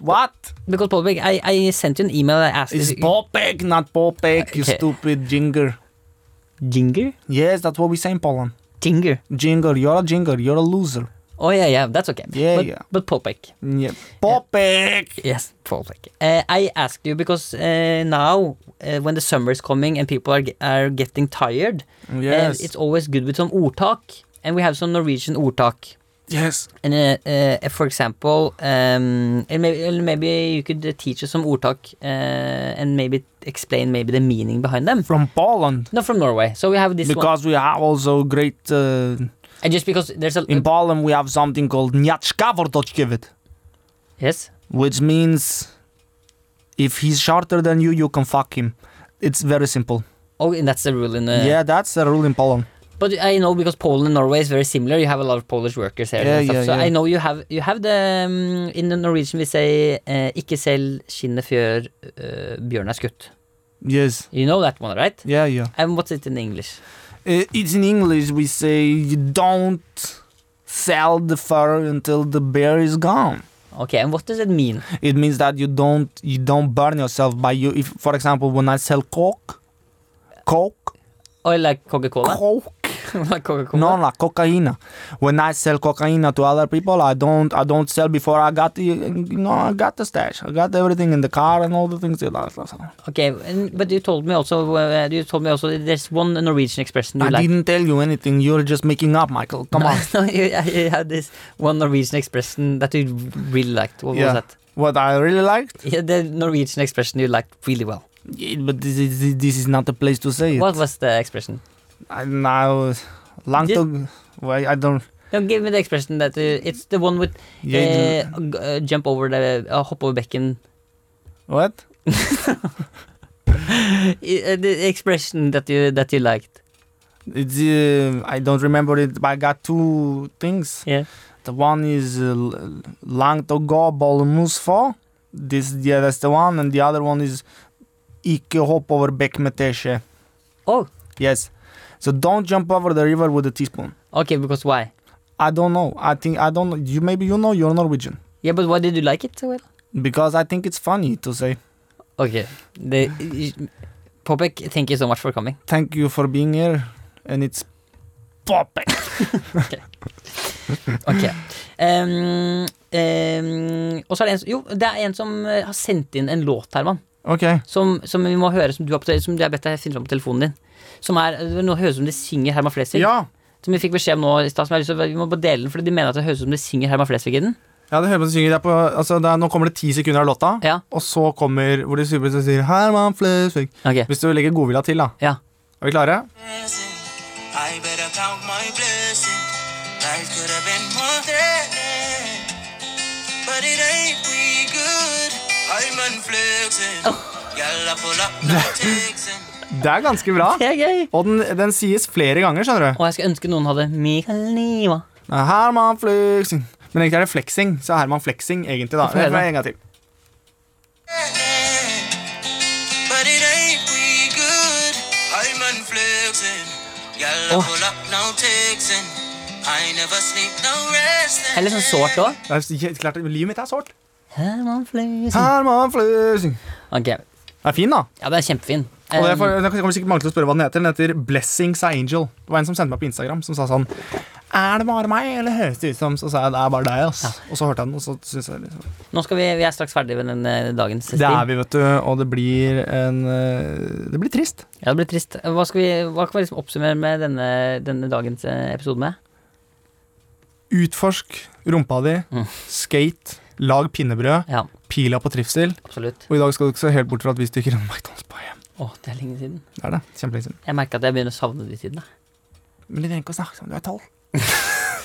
C: What?
B: because Påpek, I, I sent you an email I asked
C: It's
B: if-
C: Popek, not Popek, you
B: Okay.
C: stupid jinger.
B: Ginger?
C: Yes, that's what we say in Poland.
B: Ginger.
C: Jinger, you're a jinger, you're a loser.
B: Oh yeah, yeah, that's okay.
C: Yeah,
B: but,
C: yeah.
B: but Popek.
C: Yeah. Popek!
B: Yes, Popek. Uh, I asked you because uh, now, uh, when the summer is coming and people are, ge- are getting tired, uh,
C: Yes.
B: it's always good with some ordtak, and we have some Norwegian ordtak.
C: Yes.
B: And uh, uh, for example, um, and maybe, and maybe you could uh, teach us some ordtak uh, and maybe explain maybe the meaning behind them.
C: From Poland.
B: No, from Norway. So we have this one.
C: Because we have also great... Uh,
B: And just because there's a
C: in Poland we have something called Nyaczkavordochkiewicz.
B: yes,
C: which means if he's shorter than you, you can fuck him. It's very simple.
B: oh, and that's the rule in. Uh,
C: yeah, that's the rule in Poland.
B: But I know because Poland and Norway is very similar. You have a lot of Polish workers here.
C: Yeah,
B: and stuff.
C: yeah,
B: so
C: yeah.
B: I know you have you have the um, in the Norwegian we say eh, ikke selv skinnet før eh, bjørnen er skutt.
C: Yes.
B: You know that one, right?
C: Yeah, yeah.
B: And what's it in English?
C: Uh, it's in English. We say you don't sell the fur until the bear is gone.
B: Okay, and what does it mean?
C: It means that you don't you don't burn yourself by you. If, for example, when I sell coke, coke,
B: Oh, like Coca-Cola?
C: coke.
B: like Coca-Cola?
C: No, like cocaine. When I sell cocaine to other people, I don't, I don't sell before I got the, you know, I got the stash. I got everything in the car and all the things. you like.
B: Okay, and, but you told me also uh, you told me also that there's one Norwegian expression you
C: I
B: like.
C: didn't tell you anything. You're just making up, Michael. Come on.
B: no, you, you had this one Norwegian expression that you really liked. What was
C: Yeah.
B: that?
C: What I really liked,
B: Yeah, the Norwegian expression you liked really well.
C: Yeah, but this is this is not the place to say it.
B: What was the expression?
C: I now, long
B: Did-
C: to, well, I don't.
B: No, give me the expression that uh, it's the one with
C: Yeah,
B: eh, g- uh, jump over the uh, hopp over bekken.
C: What?
B: I- uh, the expression that you that you liked.
C: It's uh, I don't remember it. But I got two things.
B: Yeah.
C: The one is uh, l- lang to gå bollmus for. This yeah, that's the one, and the other one is ikke hopp over bekk med teskje.
B: Oh,
C: Yes. So don't jump over the river with a teaspoon.
B: okay. Because why?
C: I don't know. I think I don't know. You maybe you know you're Norwegian
B: Yeah, but why did you like it so well?
C: because I think it's funny to say
B: Okay. The, eh, Popek, thank you so much for coming.
C: thank you for being here, and it's popping.
B: Ok. Um, um, og så er det en, som- jo, det er en som eh, har sendt inn en låt, Herman.
C: Ok.
B: som, som vi må høre, som du har, på, som jeg har bedt deg finne fram på telefonen din. Som er, Nå høres det ut som de synger Herman Flesvig.
C: Ja.
B: Som vi fikk beskjed om nå i stad. som jeg har lyst til å- Vi må bare dele den, fordi de mener at det høres ut som de synger Herman Flesvig i den.
C: ja, det hører man synger. Det er på, altså, det er, nå kommer det ti sekunder av låta,
B: Ja.
C: og så kommer hvor de super- sier Herman Flesvig.
B: Ok.
C: Hvis du legger godvilja til, da.
B: Ja.
C: Er vi klare?
F: I better count my blessings. Life could have been more than, but it ain't we good. I'm unflexing. Y'all are full up texting.
C: Det er ganske bra.
B: Det er gøy.
C: Og den, den sies flere ganger, skjønner du.
B: Og jeg skulle ønske noen hadde Mikael Niva.
C: Herman Flexing. Men egentlig er det flexing, så Herman Flexing egentlig, da.
B: Få høre.
C: En gang til.
F: But it ain't we good. I'm unflexing. Y'all
B: Oh.
F: are full up now texting. I never sleep, no resting.
B: Det er litt sånn sårt òg.
C: Det er helt klart, Livet mitt er sårt.
B: Herman Flesvig.
C: Herman Flexing.
B: Ok.
C: Den er fin, da.
B: Ja, den er kjempefin.
C: Og det
B: Um,
C: er for, det kommer sikkert mange til å spørre hva den heter. Den heter Blessings a Angel. Det var en som sendte meg på Instagram som sa sånn Er det bare meg, eller høres det ut som Så sa jeg det er bare deg, ass. Og så hørte jeg den, og så synes jeg liksom
B: Nå skal vi, vi er straks ferdig med den eh, dagens stil.
C: Det er vi, vet du, og det blir en eh, Det blir trist.
B: Ja, det blir trist. Hva, skal vi, hva kan vi liksom oppsummere med denne, denne dagens eh, episode med?
C: Utforsk rumpa di.
B: Mm.
C: Skate. Lag pinnebrød.
B: Ja,
C: Pila på trivsel.
B: absolutt.
C: Og i dag skal du ikke se helt bort fra at vi stikker innom McDonald's på hjem.
B: Å, det er lenge siden.
C: Det er det. Kjempelenge siden.
B: Jeg merker at jeg begynner å savne de tidene.
C: Men du trenger ikke å snakke som du er tolv.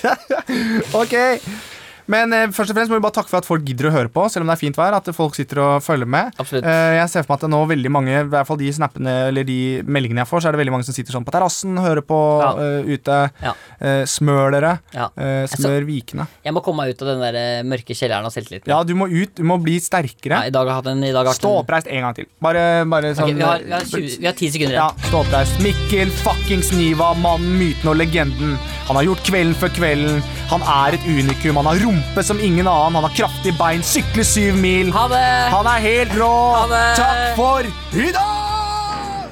C: ok. Men eh, først og fremst må vi bare takke for at folk gidder å høre på, selv om det er fint vær. At folk sitter og følger med.
B: Absolutt.
C: Eh, jeg ser for meg at det nå veldig mange, i hvert fall de snappene eller de meldingene jeg får, så er det veldig mange som sitter sånn på terrassen, hører på
B: Ja.
C: eh, ute.
B: Ja.
C: Eh, smør dere.
B: Ja.
C: Eh, smør vikene.
B: Jeg må komme meg ut av den der eh, mørke kjelleren av selvtilliten.
C: Ja, du må ut. Du må bli
B: Ja,
C: sterkere.
B: I dag har jeg hatt en i dag har jeg hatt
C: Stå
B: en-
C: oppreist en gang til. Bare, bare
B: Ok,
C: sånn
B: vi, har, vi, har 20, vi har 10 sekunder
C: Ja,
B: igjen.
C: stå oppreist. Mikkel fuckings Niva, mannen, myten og legenden. Han har gjort kvelden for kvelden. Han er et unikum. Han har rumpe som ingen annen. Han har kraftige bein, sykler syv mil.
B: Ha det!
C: Han er helt rå.
B: Ha det!
C: Takk for i dag!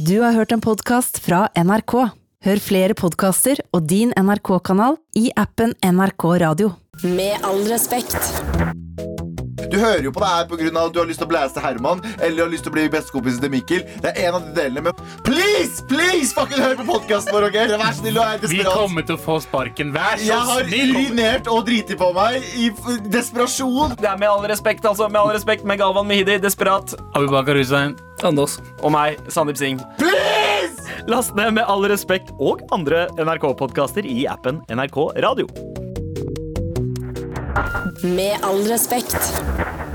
A: Du har hørt en podkast fra NRK. Hør flere podkaster og din NRK-kanal i appen NRK Radio.
G: Med all respekt.
H: Du hører jo på det her pga. at du har lyst til å blæse til Herman eller har lyst til å bli bestekompisen til Mikkel. Det er en av de delene, men please, please, fucking hør på podkasten vår, OK? Vær så snill og er
I: Vi
H: desperat.
I: kommer til å få sparken. Vær så
H: Jeg har
I: snill!
H: urinert og driti på meg i f- desperasjon.
J: Det er med all respekt, altså. Med all respekt med Galvan Mehidi, desperat.
I: Abubakar Hussein.
J: Og meg, Sandeep Singh.
H: Please!
J: Last ned med all respekt og andre NRK-podkaster i appen NRK Radio.
G: Med all respekt.